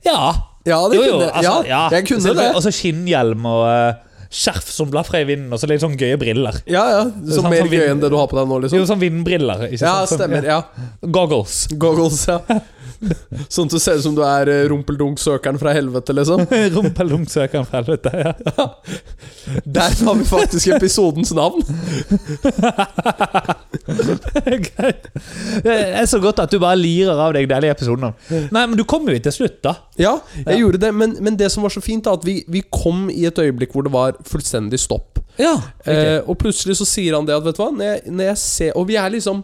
Speaker 2: Ja!
Speaker 1: Ja, det
Speaker 2: jo, jo,
Speaker 1: kunne
Speaker 2: altså,
Speaker 1: ja,
Speaker 2: ja.
Speaker 1: jeg kunne
Speaker 2: Så-
Speaker 1: det. altså-
Speaker 2: Og så skinnhjelm og eh, skjerf som blafrer i vinden, og så litt sånn gøye briller.
Speaker 1: Ja, ja. Så
Speaker 2: sånn
Speaker 1: mer
Speaker 2: som
Speaker 1: gøy
Speaker 2: vind-
Speaker 1: enn det du har på deg nå,
Speaker 2: Jo,
Speaker 1: liksom.
Speaker 2: sånn vindbriller. Ikke
Speaker 1: Ja,
Speaker 2: sant? Sånn-
Speaker 1: stemmer. Ja.
Speaker 2: Goggles. [laughs]
Speaker 1: Goggles, ja. [laughs] Sånn at du ser ut som du er eh, rumpeldunk-søkeren fra helvete, liksom.
Speaker 2: Rumpelungsøkeren fra helvete. Ja.
Speaker 1: Der har vi faktisk episodens navn.
Speaker 2: Gøy. Det er så godt at du bare lirer av deg deilige episoden. Nei, men du kom jo hit til slutt, da.
Speaker 1: [laughs] Ja, jeg
Speaker 2: Ja.
Speaker 1: gjorde det, men, men det som var så fint, da, at vi, vi kom i et øyeblikk hvor det var fullstendig stopp.
Speaker 2: Ja.
Speaker 1: Eh, og plutselig så sier han det at, vet du hva, når jeg, når jeg ser Og vi er liksom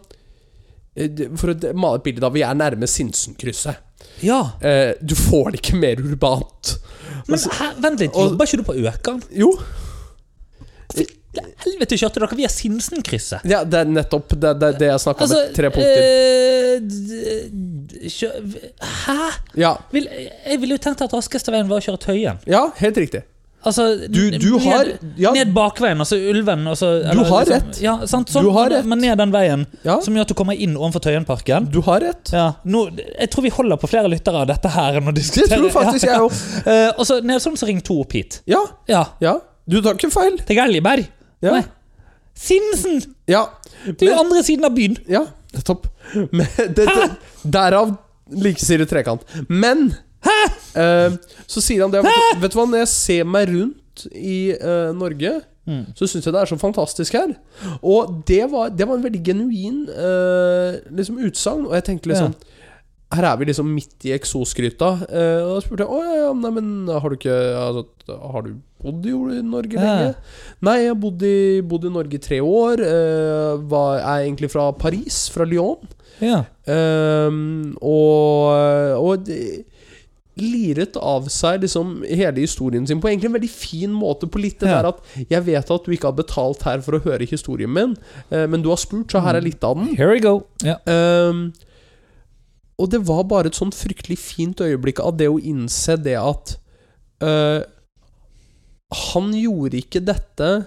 Speaker 1: eh, det- For å male et bilde, da. Vi er nærme Sinsenkrysset.
Speaker 2: ja.
Speaker 1: Eh, du får det ikke mer urbant.
Speaker 2: Men hæ, vent litt,
Speaker 1: og-
Speaker 2: jobber ikke du på Økern?
Speaker 1: Jo,
Speaker 2: Helvete kjørte dere via Sinsenkrysset.
Speaker 1: ja, det er nettopp det, det, det jeg snakka med tre punkter.
Speaker 2: Altså, eh, d- d- kjø- Hæ?
Speaker 1: ja.
Speaker 2: Vil, jeg ville jo tenkt at raskeste veien var å kjøre Tøyen.
Speaker 1: ja, helt riktig.
Speaker 2: Altså,
Speaker 1: Du- du
Speaker 2: ned-
Speaker 1: har- ja.
Speaker 2: Ned bakveien, altså Ulven. Altså,
Speaker 1: har
Speaker 2: rett. Ja, sant, sånn,
Speaker 1: Du har
Speaker 2: men-
Speaker 1: rett.
Speaker 2: Men ned den veien
Speaker 1: Ja,
Speaker 2: som gjør at du kommer inn overfor Tøyenparken.
Speaker 1: du har rett.
Speaker 2: Ja, nå, jeg tror vi holder på flere lyttere av dette her enn å
Speaker 1: Det
Speaker 2: diskutere.
Speaker 1: tror faktisk jeg òg.
Speaker 2: [laughs] Ja. Eh, og så ned sånn som Ring 2 opp hit.
Speaker 1: Ja,
Speaker 2: Ja,
Speaker 1: ja. Du tar ikke feil.
Speaker 2: til Galjeberg.
Speaker 1: Ja.
Speaker 2: Nei. Sinsen!
Speaker 1: ja.
Speaker 2: Til
Speaker 1: Men-
Speaker 2: andre siden av byen.
Speaker 1: Ja, nettopp. Men, det, det, derav likesidet trekant. Men eh, så sier han det vet, vet du hva, når jeg ser meg rundt i eh, Norge,
Speaker 2: Mm.
Speaker 1: så syns jeg det er så fantastisk her. Og det var, det var en veldig genuin eh, liksom, utsagn, og jeg tenkte liksom Her er vi liksom midt i eksosgryta. eh, og da spurte jeg Å, ja, ja, nei, men har du ikke altså, Har du bodd i Norge lenge?
Speaker 2: Ja.
Speaker 1: Nei, jeg har bodd i, bodd i Norge i tre år. eh, var, er egentlig fra Paris, fra Lyon.
Speaker 2: Ja.
Speaker 1: Ehm, og og de, liret av seg liksom hele historien sin på egentlig en veldig fin måte. På litt det
Speaker 2: Ja.
Speaker 1: der at jeg vet at du ikke har betalt her for å høre historien min, eh, men du har spurt, så
Speaker 2: Mm.
Speaker 1: her er litt av den.
Speaker 2: Here we go. Ja.
Speaker 1: Ehm, og det var bare et sånn fryktelig fint øyeblikk av det å innse det at eh, Han gjorde ikke dette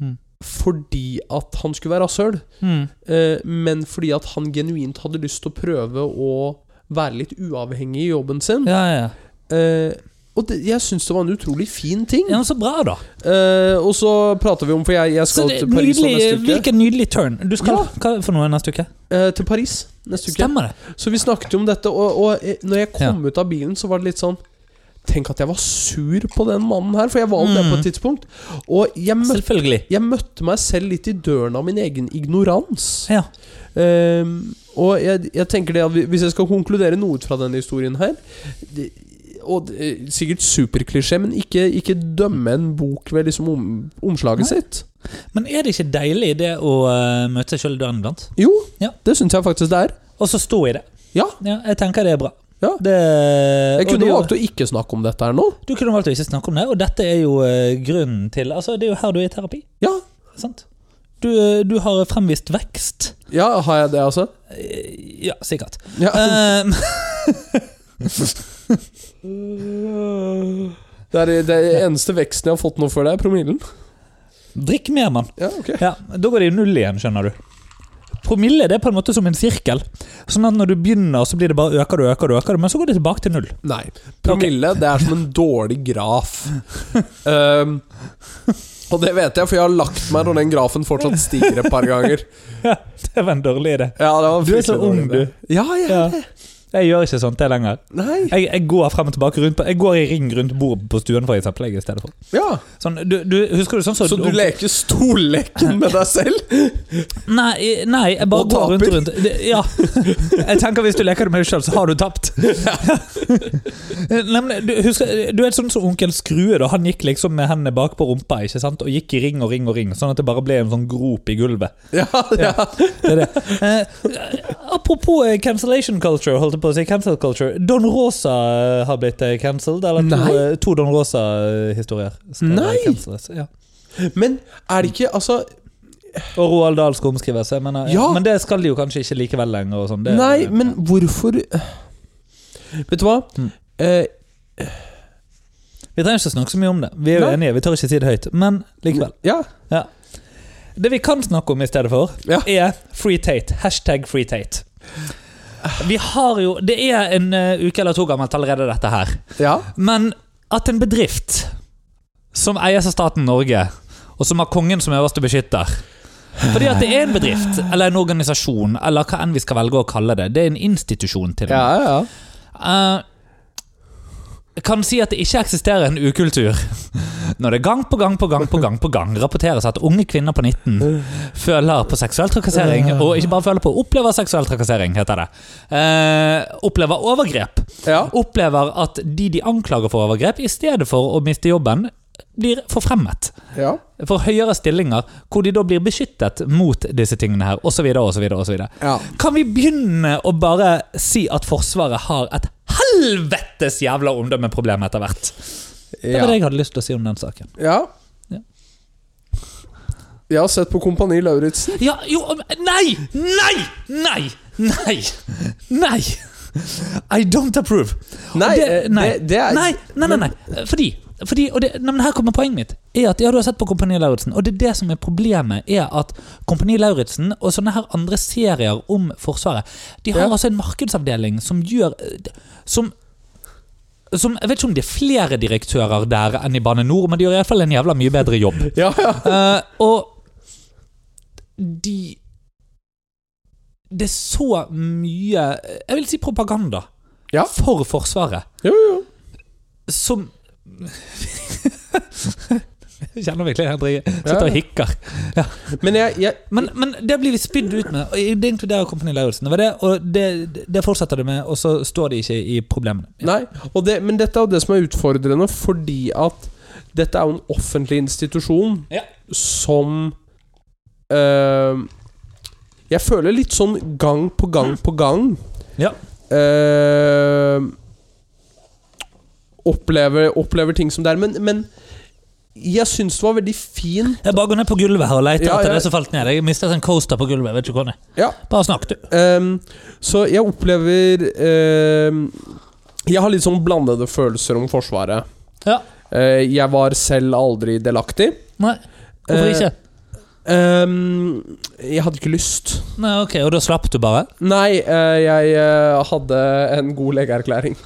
Speaker 2: Mm.
Speaker 1: fordi at han skulle være rasshøl,
Speaker 2: Mm.
Speaker 1: eh, men fordi at han genuint hadde lyst til å prøve å være litt uavhengig i jobben sin.
Speaker 2: ja, ja.
Speaker 1: Eh, og det, jeg syns det var en utrolig fin ting.
Speaker 2: ja men så bra, da.
Speaker 1: Eh, og så prater vi om, for jeg, jeg
Speaker 2: Så
Speaker 1: skal
Speaker 2: det,
Speaker 1: til Paris nå
Speaker 2: nydelig,
Speaker 1: neste uke.
Speaker 2: hvilken nydelig turn. Du skal
Speaker 1: Ja.
Speaker 2: hva for noe neste uke?
Speaker 1: Eh, til Paris neste uke.
Speaker 2: Stemmer det?
Speaker 1: Så vi snakket jo om dette, og, og eh, når jeg kom ut av bilen, så var det litt sånn Tenk at jeg var sur på den mannen her, for jeg var jo det på
Speaker 2: Mm.
Speaker 1: et tidspunkt. Og jeg, møt,
Speaker 2: Selvfølgelig.
Speaker 1: jeg møtte meg selv litt i døren av min egen ignorans.
Speaker 2: Ja.
Speaker 1: Ehm, og jeg, jeg tenker det at vi- hvis jeg skal konkludere noe ut fra denne historien her det, Og det, er sikkert superklisjé, men ikke, ikke dømme en bok ved liksom om, omslaget sitt.
Speaker 2: Men er det ikke deilig det å eh, møte seg sjøl i døren iblant?
Speaker 1: Jo,
Speaker 2: Ja.
Speaker 1: det syns jeg faktisk det er.
Speaker 2: Og så stå i det.
Speaker 1: Ja.
Speaker 2: Ja, jeg tenker det er bra.
Speaker 1: Ja.
Speaker 2: Det,
Speaker 1: Jeg
Speaker 2: og det-
Speaker 1: kunne valgt å ikke snakke om dette her nå.
Speaker 2: Du kunne valgt å ikke snakke om det, og dette er jo eh, grunnen til Altså, det er jo her du er i terapi.
Speaker 1: Ja,
Speaker 2: Sant? Du, eh, du har fremvist vekst.
Speaker 1: ja har jeg det, altså?
Speaker 2: Eh, Ja,
Speaker 1: [laughs]
Speaker 2: sikkert.
Speaker 1: Ja.
Speaker 2: Eh,
Speaker 1: Det er det er eneste veksten jeg har fått nå før det, er promillen.
Speaker 2: Drikk mer, mann.
Speaker 1: Ja, ok.
Speaker 2: Ja, da går det i null igjen, skjønner du. Promille det er på en måte som en sirkel. Sånn at når du begynner, så blir det bare øker du, øker du, øker du, men så går det tilbake til null. [laughs]
Speaker 1: Nei. Promille, det er som en dårlig graf. Ehm, og det vet jeg, for jeg har lagt meg når den grafen fortsatt stiger et par ganger.
Speaker 2: Ja, det var en dårlig idé.
Speaker 1: Ja, det var
Speaker 2: Du er så
Speaker 1: fryktelig dårlig
Speaker 2: ung,
Speaker 1: idé. Ja, jeg
Speaker 2: Ja.
Speaker 1: er det.
Speaker 2: Jeg gjør ikke sånt det lenger.
Speaker 1: Nei.
Speaker 2: Jeg, jeg går frem og tilbake rundt på, Jeg går i ring rundt bordet på stuen, for eksempel. Jeg, i stedet for.
Speaker 1: Ja.
Speaker 2: Sånn, du, du, husker du sånn så
Speaker 1: Så du leker stolleken med deg selv?
Speaker 2: Nei, nei, jeg bare
Speaker 1: Og
Speaker 2: går rundt
Speaker 1: taper.
Speaker 2: rundt. Det- Ja.
Speaker 1: [laughs]
Speaker 2: Jeg tenker hvis du leker det med deg sjøl, så har du tapt. [laughs] Nei, men du, husker, du er sånn som onkel Skrue. da Han gikk liksom med hendene bak på rumpa ikke sant? og gikk i ring og ring, og ring sånn at det bare ble en sånn grop i gulvet.
Speaker 1: [laughs] Ja, ja.
Speaker 2: Det
Speaker 1: [laughs]
Speaker 2: er det. Eh, apropos eh, cancellation culture, holdt jeg på å si. Cancel culture. Don Rosa eh, har blitt eh, cancelled. Eller to,
Speaker 1: Nei.
Speaker 2: eh, to Don Rosa-historier. skal
Speaker 1: Nei.
Speaker 2: canceles, Ja.
Speaker 1: Men er det ikke Altså,
Speaker 2: Og Roald Dahl skal omskrive seg, men, eh,
Speaker 1: Ja.
Speaker 2: men det skal de jo kanskje ikke likevel lenger. Og sånn, det,
Speaker 1: nei, men hvorfor Vet du hva?
Speaker 2: Mm.
Speaker 1: Eh,
Speaker 2: Vi trenger ikke snakke så mye om det. Vi er jo
Speaker 1: Nei.
Speaker 2: enige, vi tør ikke si det høyt. Men likevel.
Speaker 1: Ja.
Speaker 2: Det vi kan snakke om i stedet for,
Speaker 1: Ja.
Speaker 2: er Free Tate. Hashtag Free Tate. Vi har jo Det er en eh, uke eller to gammelt allerede, dette her.
Speaker 1: ja.
Speaker 2: Men at en bedrift som eies av staten Norge, og som har kongen som øverste beskytter Fordi at det er en bedrift, eller en organisasjon, eller hva enn vi skal velge å kalle det. Det er en institusjon, til og med.
Speaker 1: Ja, ja.
Speaker 2: Eh, kan si at det ikke eksisterer en ukultur. Når det gang på gang på gang på gang på gang rapporteres at unge kvinner på 19 føler på seksuell trakassering, og ikke bare føler på, opplever seksuell trakassering, heter det. Eh, opplever overgrep.
Speaker 1: ja.
Speaker 2: Opplever at de de anklager for overgrep, i stedet for å miste jobben, blir forfremmet
Speaker 1: ja.
Speaker 2: for høyere stillinger, hvor de da blir beskyttet mot disse tingene her, osv., osv., osv.
Speaker 1: Ja.
Speaker 2: Kan vi begynne å bare si at Forsvaret har et helvetes jævla omdømmeproblem etter hvert? Det
Speaker 1: ja.
Speaker 2: var det jeg hadde lyst til å si om den saken.
Speaker 1: Ja.
Speaker 2: Ja.
Speaker 1: Jeg har sett på Kompani Lauritzen.
Speaker 2: Ja, jo om- Nei! Nei! Nei! Nei! Nei! I don't approve. Og
Speaker 1: Nei,
Speaker 2: det,
Speaker 1: eh,
Speaker 2: nei,
Speaker 1: det- det er-
Speaker 2: nei, nei, nei, nei. Fordi, fordi og det, nei, men Her kommer poenget mitt. Er at, ja, Du har sett på Kompani Lauritzen, og det er det som er problemet. er at Kompani Lauritzen og sånne her andre serier om Forsvaret De har
Speaker 1: Ja.
Speaker 2: altså en markedsavdeling som gjør eh, Som som, jeg vet ikke om det er flere direktører der enn i Bane Nor, men de gjør iallfall en jævla mye bedre jobb.
Speaker 1: Ja, ja.
Speaker 2: Eh, og de Det er så mye Jeg vil si propaganda
Speaker 1: Ja.
Speaker 2: for Forsvaret
Speaker 1: Jo, jo.
Speaker 2: som Jeg kjenner virkelig at jeg sitter og hikker.
Speaker 1: Men jeg, jeg
Speaker 2: Men, men det blir vi spydd ut med. Og det inkluderer Kompani Lauritzen. Det var det, og det, det fortsetter det med, og så står de ikke i problemene.
Speaker 1: Nei, og det, men dette er jo det som er utfordrende, fordi at dette er jo en offentlig institusjon
Speaker 2: Ja.
Speaker 1: som eh, Jeg føler litt sånn gang på gang på gang
Speaker 2: Ja.
Speaker 1: eh, opplever, opplever ting som det er. Men, men jeg syns det var veldig fin
Speaker 2: Jeg bare går ned på gulvet her og leter
Speaker 1: Ja,
Speaker 2: etter
Speaker 1: ja.
Speaker 2: det som falt ned. Jeg mistet en coaster på gulvet. Jeg vet ikke hvor den er.
Speaker 1: Ja,
Speaker 2: Bare snakk, du.
Speaker 1: Ehm, så jeg opplever ehm, Jeg har litt sånn blandede følelser om Forsvaret.
Speaker 2: Ja.
Speaker 1: Eh, jeg var selv aldri delaktig.
Speaker 2: Nei. Hvorfor
Speaker 1: Eh,
Speaker 2: ikke?
Speaker 1: Ehm, jeg hadde ikke lyst.
Speaker 2: Nei, ok, Og da slapp du bare?
Speaker 1: Nei, eh, jeg eh, hadde en god [laughs] legeerklæring.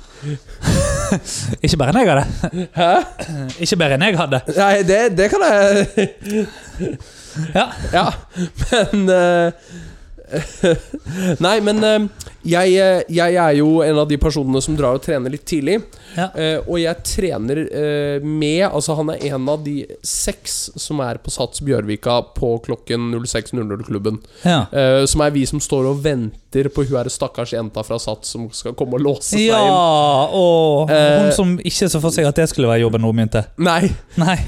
Speaker 2: Ikke bedre enn jeg hadde. Ikke bedre enn jeg hadde.
Speaker 1: Nei, det, det kan jeg [laughs]
Speaker 2: Ja.
Speaker 1: Ja, men eh, [laughs] Nei, men eh, jeg, eh, jeg er jo en av de personene som drar og trener litt tidlig.
Speaker 2: Ja.
Speaker 1: Eh, og jeg trener eh, med Altså, han er en av de seks som er på Sats Bjørvika på klokken 06.00-klubben.
Speaker 2: Ja,
Speaker 1: Eh, som er vi som står og venter på hun her stakkars jenta fra Sats som skal komme og låse seg
Speaker 2: ja
Speaker 1: inn.
Speaker 2: og
Speaker 1: Eh,
Speaker 2: hun som ikke så for seg at det skulle være jobben hun begynte.
Speaker 1: Nei,
Speaker 2: [laughs] Nei.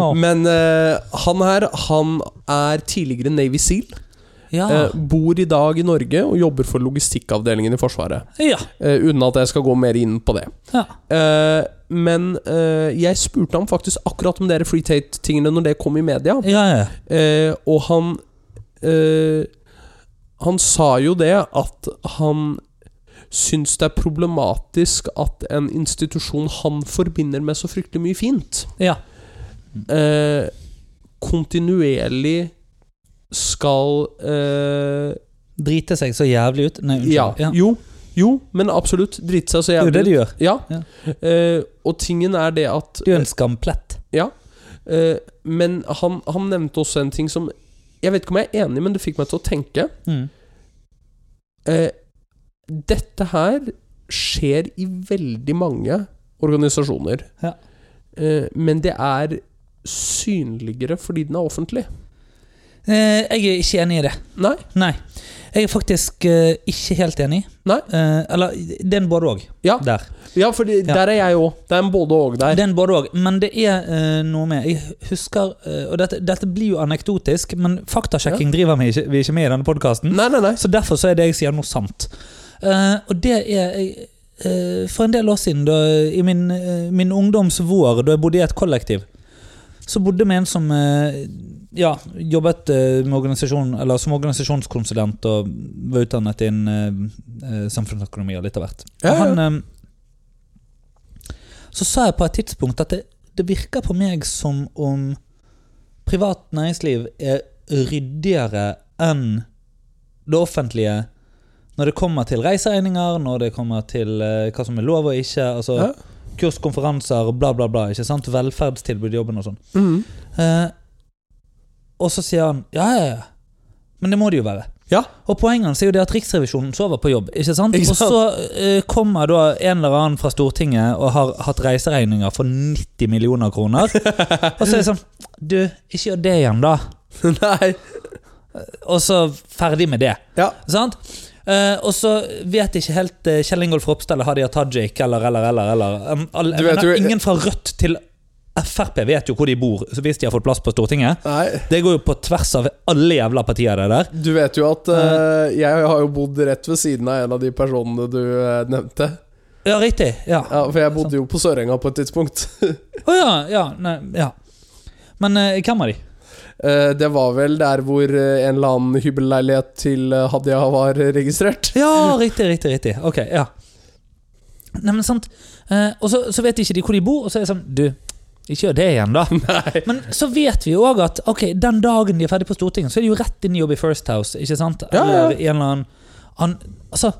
Speaker 2: Å,
Speaker 1: men eh, han her, han er tidligere Navy Seal.
Speaker 2: ja.
Speaker 1: Eh, bor i dag i Norge og jobber for logistikkavdelingen i Forsvaret.
Speaker 2: ja.
Speaker 1: Eh, uten at jeg skal gå mer inn på det.
Speaker 2: Ja.
Speaker 1: Eh, men eh, jeg spurte ham faktisk akkurat om dere Free Tate-tingene når det kom i media.
Speaker 2: Ja, ja.
Speaker 1: Eh, og han eh, Han sa jo det at han syns det er problematisk at en
Speaker 2: Mm.
Speaker 1: institusjon han forbinder med så fryktelig mye fint,
Speaker 2: ja.
Speaker 1: eh, kontinuerlig skal eh,
Speaker 2: Drite seg så jævlig ut. Nei, unnskyld.
Speaker 1: ja,
Speaker 2: Ja.
Speaker 1: Jo, jo, men absolutt. Drite seg så
Speaker 2: Det er jo det
Speaker 1: jævlig
Speaker 2: du
Speaker 1: ut.
Speaker 2: gjør.
Speaker 1: Ja. Eh, og tingen er det at
Speaker 2: Du er en skamplett.
Speaker 1: eh, Men han, han nevnte også en ting som Jeg vet ikke om jeg er enig, men det fikk meg til å tenke.
Speaker 2: Mm.
Speaker 1: Eh, dette her skjer i veldig mange organisasjoner.
Speaker 2: Ja.
Speaker 1: Eh, men det er synligere fordi den er offentlig.
Speaker 2: Eh, jeg er ikke enig i det.
Speaker 1: Nei.
Speaker 2: Nei. Jeg er faktisk eh, ikke helt enig.
Speaker 1: Nei.
Speaker 2: Eh, eller det er en både òg.
Speaker 1: Ja.
Speaker 2: Der.
Speaker 1: Ja, for
Speaker 2: Ja.
Speaker 1: der er jeg òg. Det er en både og
Speaker 2: Det
Speaker 1: der.
Speaker 2: er en både òg. Men det er eh, noe med Jeg husker eh, Og dette, dette blir jo anekdotisk, men faktasjekking driver vi ikke, vi er ikke med i denne podkasten.
Speaker 1: Nei, nei, nei.
Speaker 2: Så derfor så er det jeg sier noe sant. Eh, og det er jeg, eh, For en del år siden, da, i min, eh, min ungdoms vår, da jeg bodde i et kollektiv, så bodde vi en som eh, ja, jobbet eh, med organisasjon, eller som organisasjonskonsulent og var utdannet innen eh, eh, samfunnsøkonomi og litt av hvert.
Speaker 1: Ja, ja.
Speaker 2: Og han, eh, så sa jeg på et tidspunkt at det, det virker på meg som om privat næringsliv er ryddigere enn det offentlige når det kommer til reiseregninger, når det kommer til eh, hva som er lov og ikke. altså
Speaker 1: Ja.
Speaker 2: Kurs, konferanser, bla, bla, bla. ikke sant? Velferdstilbud, i jobben og sånn.
Speaker 1: Mhm.
Speaker 2: Eh, og så sier han ja, ja, ja. Men det må det jo være.
Speaker 1: Ja.
Speaker 2: Og poenget hans er jo det at Riksrevisjonen sover på jobb. ikke sant?
Speaker 1: Ikke sant?
Speaker 2: Og så eh, kommer da en eller annen fra Stortinget og har hatt reiseregninger for 90 millioner
Speaker 1: [laughs]
Speaker 2: kroner. og så er det sånn Du, ikke gjør det igjen, da.
Speaker 1: [laughs] nei.
Speaker 2: Og så ferdig med det.
Speaker 1: Ja.
Speaker 2: Sant? Eh, og så vet ikke helt eh, Kjell Ingolf Ropstad eller Hadia Tajik eller eller eller. eller. Um, all,
Speaker 1: Du vet
Speaker 2: men
Speaker 1: jo-
Speaker 2: Ingen fra Rødt til Frp vet jo hvor de bor, så hvis de har fått plass på Stortinget.
Speaker 1: Nei.
Speaker 2: Det går jo på tvers av alle jævla partier, det der.
Speaker 1: Du vet jo at eh, jeg har jo bodd rett ved siden av en av de personene du eh, nevnte.
Speaker 2: Ja, riktig. Ja. Å
Speaker 1: Ja, For jeg bodde jo på Sørenga på et tidspunkt.
Speaker 2: ja, ja, nei, ja. Men eh, hvem av de?
Speaker 1: Eh, det var vel der hvor eh, en eller annen hybelleilighet til eh, Hadia var registrert.
Speaker 2: Ja, riktig, riktig, riktig. Ok, ja. Nei, men sant. Eh, og så, så vet ikke de hvor de bor, og så er det sånn Du, ikke gjør det igjen, [laughs] da.
Speaker 1: Nei.
Speaker 2: Men så vet vi jo òg at ok, den dagen de er ferdig på Stortinget, så er de jo rett inn i jobb i First House, ikke sant?
Speaker 1: Ja, ja.
Speaker 2: Eller en eller annen han, Altså,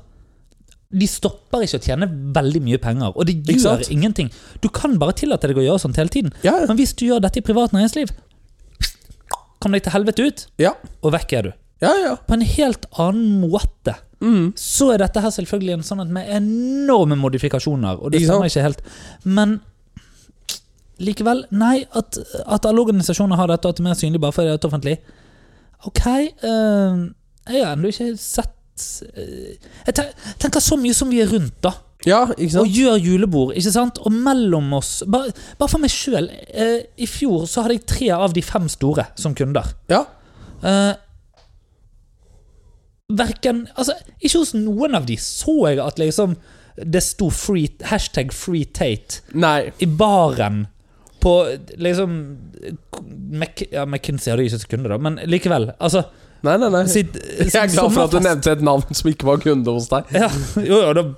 Speaker 2: de stopper ikke å tjene veldig mye penger, og det
Speaker 1: Ikke
Speaker 2: gjør
Speaker 1: sant?
Speaker 2: ingenting. Du kan bare tillate deg å gjøre sånt hele tiden.
Speaker 1: Ja,
Speaker 2: Men hvis du gjør dette i privat næringsliv, kom deg til helvete ut,
Speaker 1: ja,
Speaker 2: og vekk er du.
Speaker 1: ja. ja.
Speaker 2: På en helt annen måte.
Speaker 1: Mm.
Speaker 2: Så er dette her selvfølgelig en sånn at med enorme modifikasjoner, og det
Speaker 1: Ikke sant?
Speaker 2: stemmer ikke helt. Men likevel, nei, at, at alle organisasjoner har dette, og at det er mer synlig bare fordi det er et offentlig. Ok, øh, jeg har ennå ikke sett øh, Jeg ten- tenker så mye som vi er rundt, da.
Speaker 1: Ja, ikke
Speaker 2: Og
Speaker 1: sant?
Speaker 2: gjør julebord, ikke sant? Og mellom oss Bare, bare for meg sjøl. Eh, I fjor så hadde jeg tre av de fem store som kunder.
Speaker 1: Ja.
Speaker 2: Eh, verken Altså, ikke hos noen av de så jeg at liksom det sto free, hashtag free Tate
Speaker 1: Nei.
Speaker 2: i baren på liksom Mac, ja, McKinsey hadde jo ikke sekunder, da, men likevel.
Speaker 1: [laughs]
Speaker 2: Altså,
Speaker 1: Nei, nei, nei.
Speaker 2: sitt,
Speaker 1: Jeg er glad for at du nevnte et navn som ikke var kunde hos deg.
Speaker 2: Ja, jo, jo, da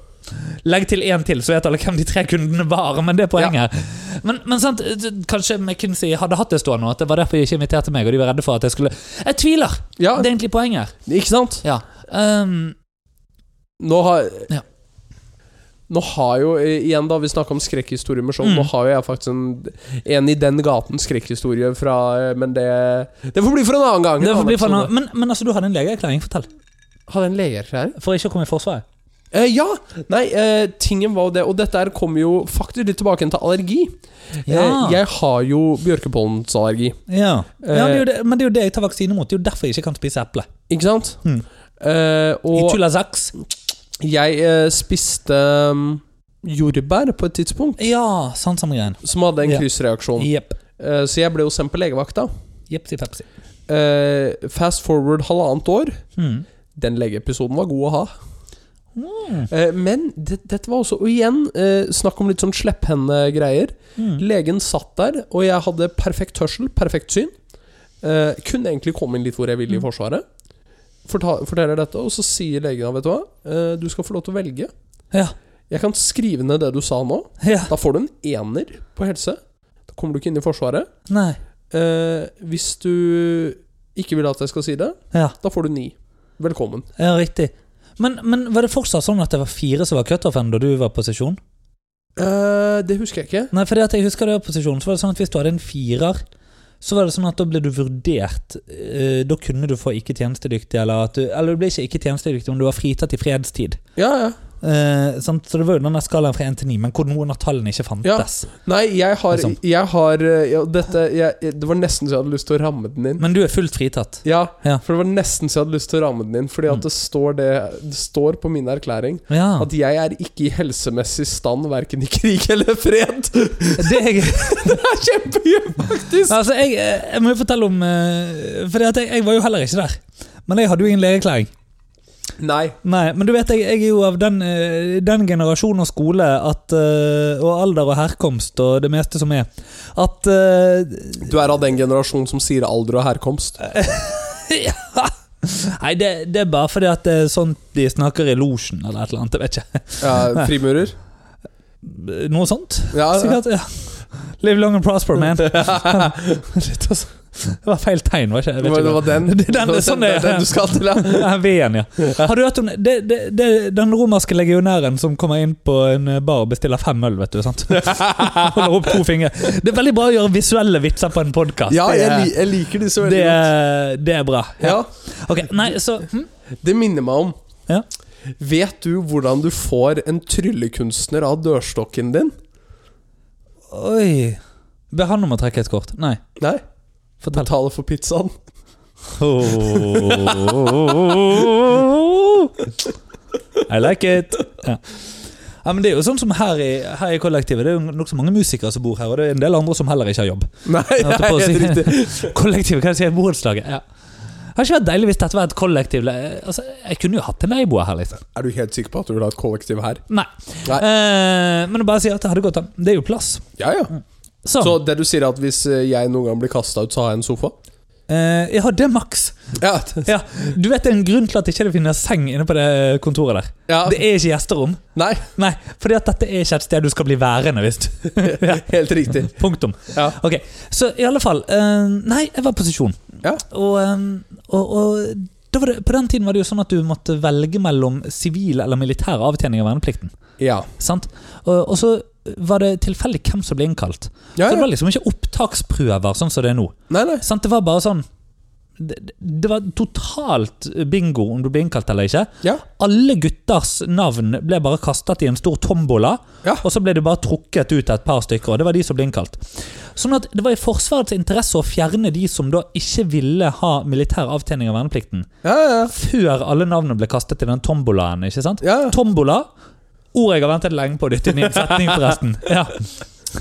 Speaker 2: Legg til én til, så vet alle hvem de tre kundene var. Men det er poenget. her Men, men sant, kanskje McKinsey hadde hatt det stående, og at det var derfor de ikke inviterte meg. Og de var redde for at jeg skulle Jeg tviler!
Speaker 1: Ja,
Speaker 2: Det er egentlig poenget her.
Speaker 1: ikke sant?
Speaker 2: Ja. Ehm,
Speaker 1: Nå har
Speaker 2: Ja.
Speaker 1: Nå har jo, eh, igjen da, vi snakka om skrekkhistorier med show,
Speaker 2: Mm.
Speaker 1: nå har jo jeg faktisk en, en i den gaten skrekkhistorie fra eh, Men det Det får bli for en annen gang.
Speaker 2: det
Speaker 1: en
Speaker 2: blir for
Speaker 1: annen episode.
Speaker 2: noe- men, men altså, du hadde en legeerklæring, fortell.
Speaker 1: Hadde en legeerklæring?
Speaker 2: For ikke å komme i Forsvaret.
Speaker 1: Eh, ja! Nei, eh, tingen var jo det Og dette her kommer jo faktisk litt tilbake igjen til allergi. Eh, jeg har jo bjørkepollenallergi.
Speaker 2: ja. ja det er
Speaker 1: Eh,
Speaker 2: jo det, men det er jo det jeg tar vaksine mot. Det er jo derfor jeg ikke kan spise eple.
Speaker 1: Ikke sant?
Speaker 2: Mm.
Speaker 1: Eh,
Speaker 2: I
Speaker 1: og
Speaker 2: Tulazax.
Speaker 1: jeg eh, spiste mm, jordbær på et tidspunkt
Speaker 2: Ja, sant Sånn samme greien.
Speaker 1: som hadde en
Speaker 2: Ja.
Speaker 1: kryssreaksjon.
Speaker 2: Jepp.
Speaker 1: Eh, så jeg ble jo sendt på legevakta.
Speaker 2: Jepsi pepsi.
Speaker 1: Eh, fast forward halvannet år.
Speaker 2: Mm.
Speaker 1: Den legeepisoden var god å ha. Eh, men det, dette var også Og igjen, eh, snakk om litt sånn slepphendegreier.
Speaker 2: Mm.
Speaker 1: Legen satt der, og jeg hadde perfekt hørsel, perfekt syn. Eh, kunne egentlig komme inn litt hvor jeg ville i
Speaker 2: Mm.
Speaker 1: Forsvaret. Forta- forteller dette, og så sier legen vet du hva, eh, du skal få lov til å velge.
Speaker 2: Ja.
Speaker 1: Jeg kan skrive ned det du sa nå.
Speaker 2: ja.
Speaker 1: Da får du en ener på helse. Da kommer du ikke inn i Forsvaret.
Speaker 2: Nei.
Speaker 1: eh, hvis du ikke vil at jeg skal si det,
Speaker 2: Ja,
Speaker 1: da får du ni. Velkommen.
Speaker 2: ja riktig. Men, men var det fortsatt sånn at det var fire som var cutoffen da du var på sesjon?
Speaker 1: Eh, det husker jeg ikke.
Speaker 2: Nei, fordi at jeg husker det var på sesjon, så var det sånn at hvis du hadde en firer, så var det sånn at da ble du vurdert eh, Da kunne du få ikke tjenestedyktig, eller at du Eller du ble ikke ikke tjenestedyktig om du var fritatt i fredstid.
Speaker 1: Ja, ja.
Speaker 2: Eh, sant? Så det var jo den der skalaen fra 1 til 9, men hvor noen av tallene ikke fantes.
Speaker 1: Nei, jeg har,
Speaker 2: Liksom.
Speaker 1: jeg har eh, ja, dette, jeg, Det var nesten så jeg hadde lyst til å ramme den inn.
Speaker 2: Men du er fullt fritatt.
Speaker 1: Ja,
Speaker 2: Ja. Mm.
Speaker 1: for det var nesten så jeg hadde lyst til å ramme den inn. Fordi at det står, det, det står på min erklæring
Speaker 2: [laughs] Ja.
Speaker 1: at jeg er ikke i helsemessig stand verken i krig eller fred. [laughs]
Speaker 2: Det er jeg,
Speaker 1: Det er kjempegøy, faktisk!
Speaker 2: [laughs] altså, jeg, jeg må jo fortelle om eh, Fordi at jeg, jeg var jo heller ikke der. Men jeg hadde jo ingen legeerklæring.
Speaker 1: Nei.
Speaker 2: Nei, men du vet, jeg, jeg er jo av den, eh, den generasjon og skole at, eh, og alder og herkomst og det meste som er, at eh,
Speaker 1: Du er av den generasjonen som sier alder og herkomst.
Speaker 2: ja. Nei, det, det er bare fordi at det er sånn de snakker i losjen eller et eller annet, jeg vet ikke.
Speaker 1: Ja, frimurer.
Speaker 2: Noe sånt?
Speaker 1: Ja, ja.
Speaker 2: Sikkert, ja. Live long and prosper,
Speaker 1: [laughs]
Speaker 2: man. Shit, altså. Det var feil tegn, var ikke
Speaker 1: Det
Speaker 2: jeg vet
Speaker 1: var,
Speaker 2: ikke
Speaker 1: det
Speaker 2: hva.
Speaker 1: var den.
Speaker 2: [laughs] Det er den- det er sånn det er.
Speaker 1: den du skal til, [laughs] ja.
Speaker 2: Ja, V-en, ja. Har du hørt om det, det, det, den romerske legionæren som kommer inn på en eh, bar og bestiller fem øl, vet du?
Speaker 1: [laughs]
Speaker 2: sant? Holder opp to fingre. Det er veldig bra å gjøre visuelle vitser på en podkast.
Speaker 1: Ja, jeg, li jeg liker disse veldig
Speaker 2: det,
Speaker 1: godt.
Speaker 2: er- det er bra.
Speaker 1: Ja,
Speaker 2: Ok, nei, så hm?
Speaker 1: det minner meg om
Speaker 2: Ja.
Speaker 1: Vet du hvordan du får en tryllekunstner av dørstokken din?
Speaker 2: Oi. Be han om å trekke et kort.
Speaker 1: [laughs]
Speaker 2: Nei,
Speaker 1: Nei,
Speaker 2: fortell.
Speaker 1: betale for
Speaker 2: [laughs]
Speaker 1: pizzaen.
Speaker 2: I like it. Ja. Ja, men det er jo sånn som her i, her i kollektivet. Det er jo nokså mange musikere som bor her, og det er en del andre som heller ikke har jobb.
Speaker 1: Nei,
Speaker 2: Jeg holdt
Speaker 1: nei,
Speaker 2: på å si-
Speaker 1: helt riktig.
Speaker 2: Kollektivet, hva sier jeg? Borettslaget. Ja. Det hadde ikke vært deilig hvis dette var et kollektiv. le- Altså, jeg kunne jo hatt en leieboer her, liksom.
Speaker 1: Er du helt sikker på at du vil ha et kollektiv her?
Speaker 2: Nei.
Speaker 1: Nei.
Speaker 2: Eh, men å bare si at det hadde gått an. Det er jo plass.
Speaker 1: Ja, ja.
Speaker 2: Sånn.
Speaker 1: Så det du sier er at hvis eh, jeg noen gang blir kasta ut, så har jeg en sofa?
Speaker 2: Eh, ja, det er maks.
Speaker 1: Ja,
Speaker 2: Ja, du vet det er en grunn til at det ikke finnes seng inne på det kontoret der.
Speaker 1: ja.
Speaker 2: Det er ikke gjesterom.
Speaker 1: Nei,
Speaker 2: Nei, fordi at dette er ikke et sted du skal bli værende,
Speaker 1: [laughs]
Speaker 2: visst. ja.
Speaker 1: helt riktig.
Speaker 2: Punktum.
Speaker 1: Ja.
Speaker 2: Ok, Så i alle fall eh, Nei, jeg var på sesjon.
Speaker 1: Ja.
Speaker 2: Og, eh, og, og da var det, på den tiden var det jo sånn at du måtte velge mellom sivil eller militær avtjening av verneplikten.
Speaker 1: Ja.
Speaker 2: Sant? Og, og så var det tilfeldig hvem som ble innkalt.
Speaker 1: ja,
Speaker 2: Så det
Speaker 1: ja.
Speaker 2: var liksom ikke opptaksprøver sånn som det er nå.
Speaker 1: Nei, nei.
Speaker 2: Sant? Det var bare sånn det, det var totalt bingo om du ble innkalt eller ikke.
Speaker 1: Ja.
Speaker 2: Alle gutters navn ble bare kastet i en stor tombola,
Speaker 1: Ja.
Speaker 2: og så ble det bare trukket ut et par stykker, og det var de som ble innkalt. Sånn at det var i Forsvarets interesse å fjerne de som da ikke ville ha militær avtjening av verneplikten,
Speaker 1: Ja, ja.
Speaker 2: før alle navnene ble kastet i den tombolaen, ikke sant?
Speaker 1: ja.
Speaker 2: Tombola. Ord jeg har ventet lenge på å dytte inn i en setning, forresten. Ja. [laughs]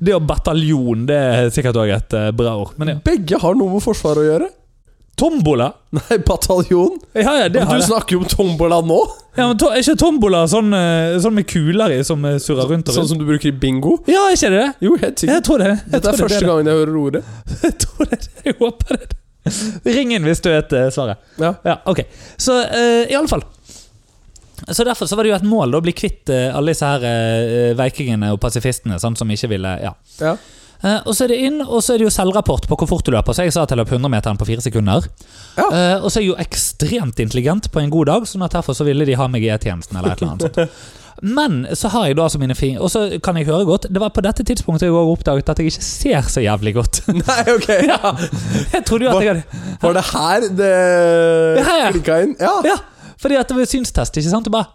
Speaker 2: Det og bataljon, det er sikkert òg et eh, bra ord. Men ja.
Speaker 1: Begge har noe med Forsvaret å gjøre. [laughs]
Speaker 2: Tombola?
Speaker 1: Nei, bataljon.
Speaker 2: Ja, ja, det
Speaker 1: Men
Speaker 2: har
Speaker 1: du
Speaker 2: jeg.
Speaker 1: snakker jo om tombola nå,
Speaker 2: Ja, men to, er ikke tombola sånn, eh, sånn med kuler i som eh, surrer rundt og
Speaker 1: sånn
Speaker 2: rundt?
Speaker 1: som du bruker i bingo.
Speaker 2: Ja, er ikke det det?
Speaker 1: Jo, helt
Speaker 2: Jeg
Speaker 1: sikkert.
Speaker 2: tror det. Jeg
Speaker 1: Dette
Speaker 2: tror
Speaker 1: er
Speaker 2: det
Speaker 1: første
Speaker 2: det.
Speaker 1: gangen jeg hører ordet.
Speaker 2: Jeg tror det. er det. Jeg håper det. er det. Ring inn hvis du vet eh, svaret.
Speaker 1: Ja.
Speaker 2: Ja, ok. Så eh, i alle fall. Så Derfor så var det jo et mål da, å bli kvitt eh, alle disse her eh, veikingene og pasifistene sant, som ikke ville ja.
Speaker 1: Ja.
Speaker 2: Eh, og så er det inn, og så er det jo selvrapport på hvor fort du løper. Så jeg sa at jeg løp 100-meteren på fire sekunder.
Speaker 1: Ja.
Speaker 2: Eh, og så er jeg jo ekstremt intelligent på en god dag, sånn at derfor så ville de ha meg i E-tjenesten eller et eller annet sånt. Men så har jeg da altså mine fingre Og så kan jeg høre godt. Det var på dette tidspunktet jeg også oppdaget at jeg ikke ser så jævlig godt.
Speaker 1: [laughs]
Speaker 2: [laughs]
Speaker 1: Nei, ok.
Speaker 2: Jeg trodde jo at jeg hadde
Speaker 1: Var det her det
Speaker 2: Ja, ja.
Speaker 1: klikka inn? Ja.
Speaker 2: Ja, fordi at det var synstest, ikke sant? Du bare,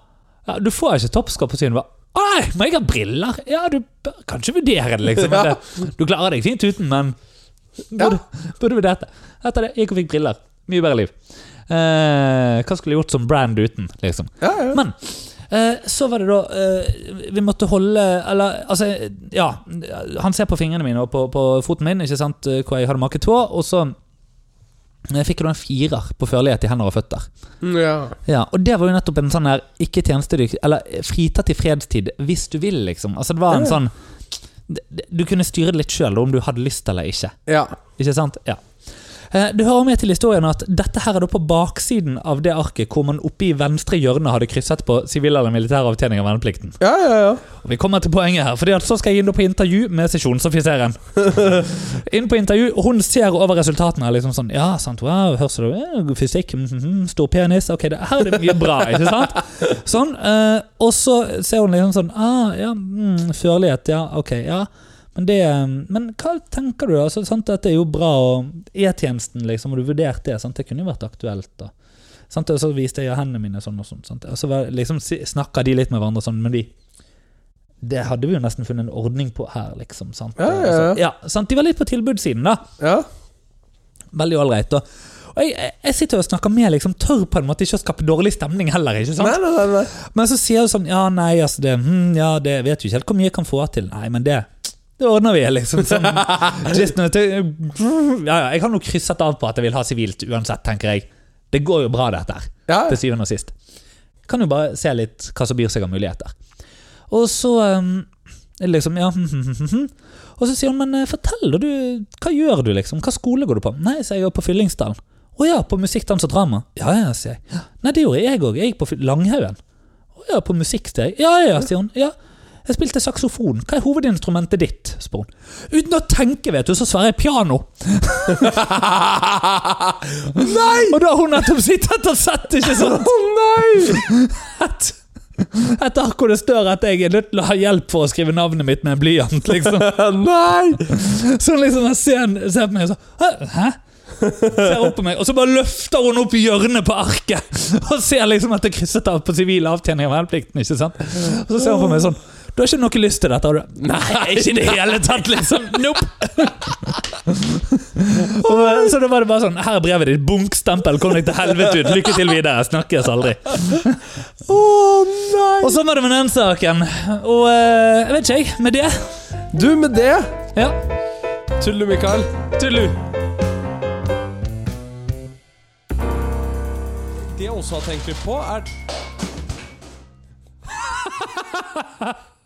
Speaker 2: ja, du får ikke toppskap på syn. Du bare, Nei, må jeg ha briller? Ja, du bør kanskje vurdere det, liksom. men
Speaker 1: Ja.
Speaker 2: Det, du klarer deg fint uten, men burde, burde vurdert det. Etter det gikk og fikk briller. Mye bedre liv. Eh, hva skulle jeg gjort som brand uten, liksom?
Speaker 1: Ja, ja.
Speaker 2: Men eh, så var det da eh, Vi måtte holde Eller altså, ja. Han ser på fingrene mine og på, på foten min, ikke sant, eh, hvor jeg hadde maket tå, og så eh, fikk jeg da en firer på førlighet i hender og føtter.
Speaker 1: ja.
Speaker 2: Ja, og det var jo nettopp en sånn der ikke tjenestedyktig, eller fritatt i fredstid hvis du vil, liksom. Altså det var en
Speaker 1: Ja.
Speaker 2: sånn d- d- Du kunne styre det litt sjøl om du hadde lyst eller ikke.
Speaker 1: ja.
Speaker 2: Ikke sant? Ja. Eh, Det hører med til historien at dette her er da på baksiden av det arket hvor man oppe i venstre hjørne hadde krysset på sivil eller militær avtjening av verneplikten.
Speaker 1: Ja, ja, ja.
Speaker 2: Og Vi kommer til poenget her, fordi at så skal jeg inn da på intervju med sesjonsoffiseren. inn på intervju, og hun ser over resultatene. liksom sånn, ja, sant, wow, hørsel, eh, Fysikk, mhm, mhm, stor penis Ok, det, her er det mye bra, ikke sant? Sånn, eh, Og så ser hun liksom sånn ah, ja, mm, Førlighet, ja, ok, ja. Men, det, eh, men hva tenker du, da? Altså, sant, dette er jo bra, og E-tjenesten, liksom, har du vurdert det? Sant? Det kunne jo vært aktuelt, da. Sant? Og så viste jeg hendene mine sånn og sånn. Sant? Og så var- liksom, snakka de litt med hverandre sånn, men vi det hadde vi jo nesten funnet en ordning på her, liksom. sant?
Speaker 1: Ja, ja, ja.
Speaker 2: Altså, sant? De var litt på tilbudssiden, da.
Speaker 1: ja.
Speaker 2: Veldig ålreit. Og, og jeg, jeg- jeg sitter og snakker med, liksom, tør på en måte ikke å skape dårlig stemning heller. ikke sant?
Speaker 1: Nei, nei, nei, nei.
Speaker 2: Men så sier du sånn Ja, nei, altså det, hm, ja, det vet jo ikke helt hvor mye jeg kan få til. Nei, men det det ordner vi, liksom.
Speaker 1: [laughs]
Speaker 2: Sånn, just nå, det- ja, ja, jeg har nå krysset av på at jeg vil ha sivilt uansett, tenker jeg. Det går jo bra, dette her
Speaker 1: Ja,
Speaker 2: til syvende og sist. Kan jo bare se litt hva som byr seg av muligheter. Og så um, er det liksom, ja, [laughs] Og så sier hun, men eh, fortell da, du, hva gjør du liksom? Hva skole går du på? Nei, sier jeg, jeg er på Fyllingsdalen. Å ja, på musikk, dans og drama. Ja, ja, sier jeg. Nei, det gjorde jeg òg. Jeg gikk på Fy- Langhaugen. Å ja, på musikk, sier jeg. Ja, ja, ja, sier hun. Ja. Jeg spilte saksofon. Hva er hovedinstrumentet ditt? spør hun. Uten å tenke, vet du, så svarer jeg piano.
Speaker 1: [laughs]
Speaker 2: Nei! Og da har hun nettopp sittet og sett, ikke sant?
Speaker 1: Å nei! [laughs]
Speaker 2: et, et ark hvor det står at jeg er nødt til å ha hjelp for å skrive navnet mitt med en blyant.
Speaker 1: [laughs]
Speaker 2: liksom.
Speaker 1: nei!
Speaker 2: Så hun liksom jeg ser, ser på meg og så, «Hæ? Hæ? Ser opp på meg, og så bare løfter hun opp hjørnet på arket [laughs] og ser liksom at det er krysset av på sivil avtjening av verneplikten. ikke sant? Og så ser hun på meg sånn Du har ikke noe lyst til dette? har du? Nei, ikke i det hele tatt, liksom. Nope. Og, så da var det bare sånn Her er brevet ditt. Bunkstempel. Kom deg til helvete ut. Lykke til videre. Snakkes aldri.
Speaker 1: Å nei!
Speaker 2: Og sånn var det med den saken. Og eh, jeg vet ikke, jeg. Med det
Speaker 1: Du, med det
Speaker 2: Ja.
Speaker 1: Tullu, Mikael.
Speaker 2: Tullu.
Speaker 1: Det jeg også har tenkt litt på, er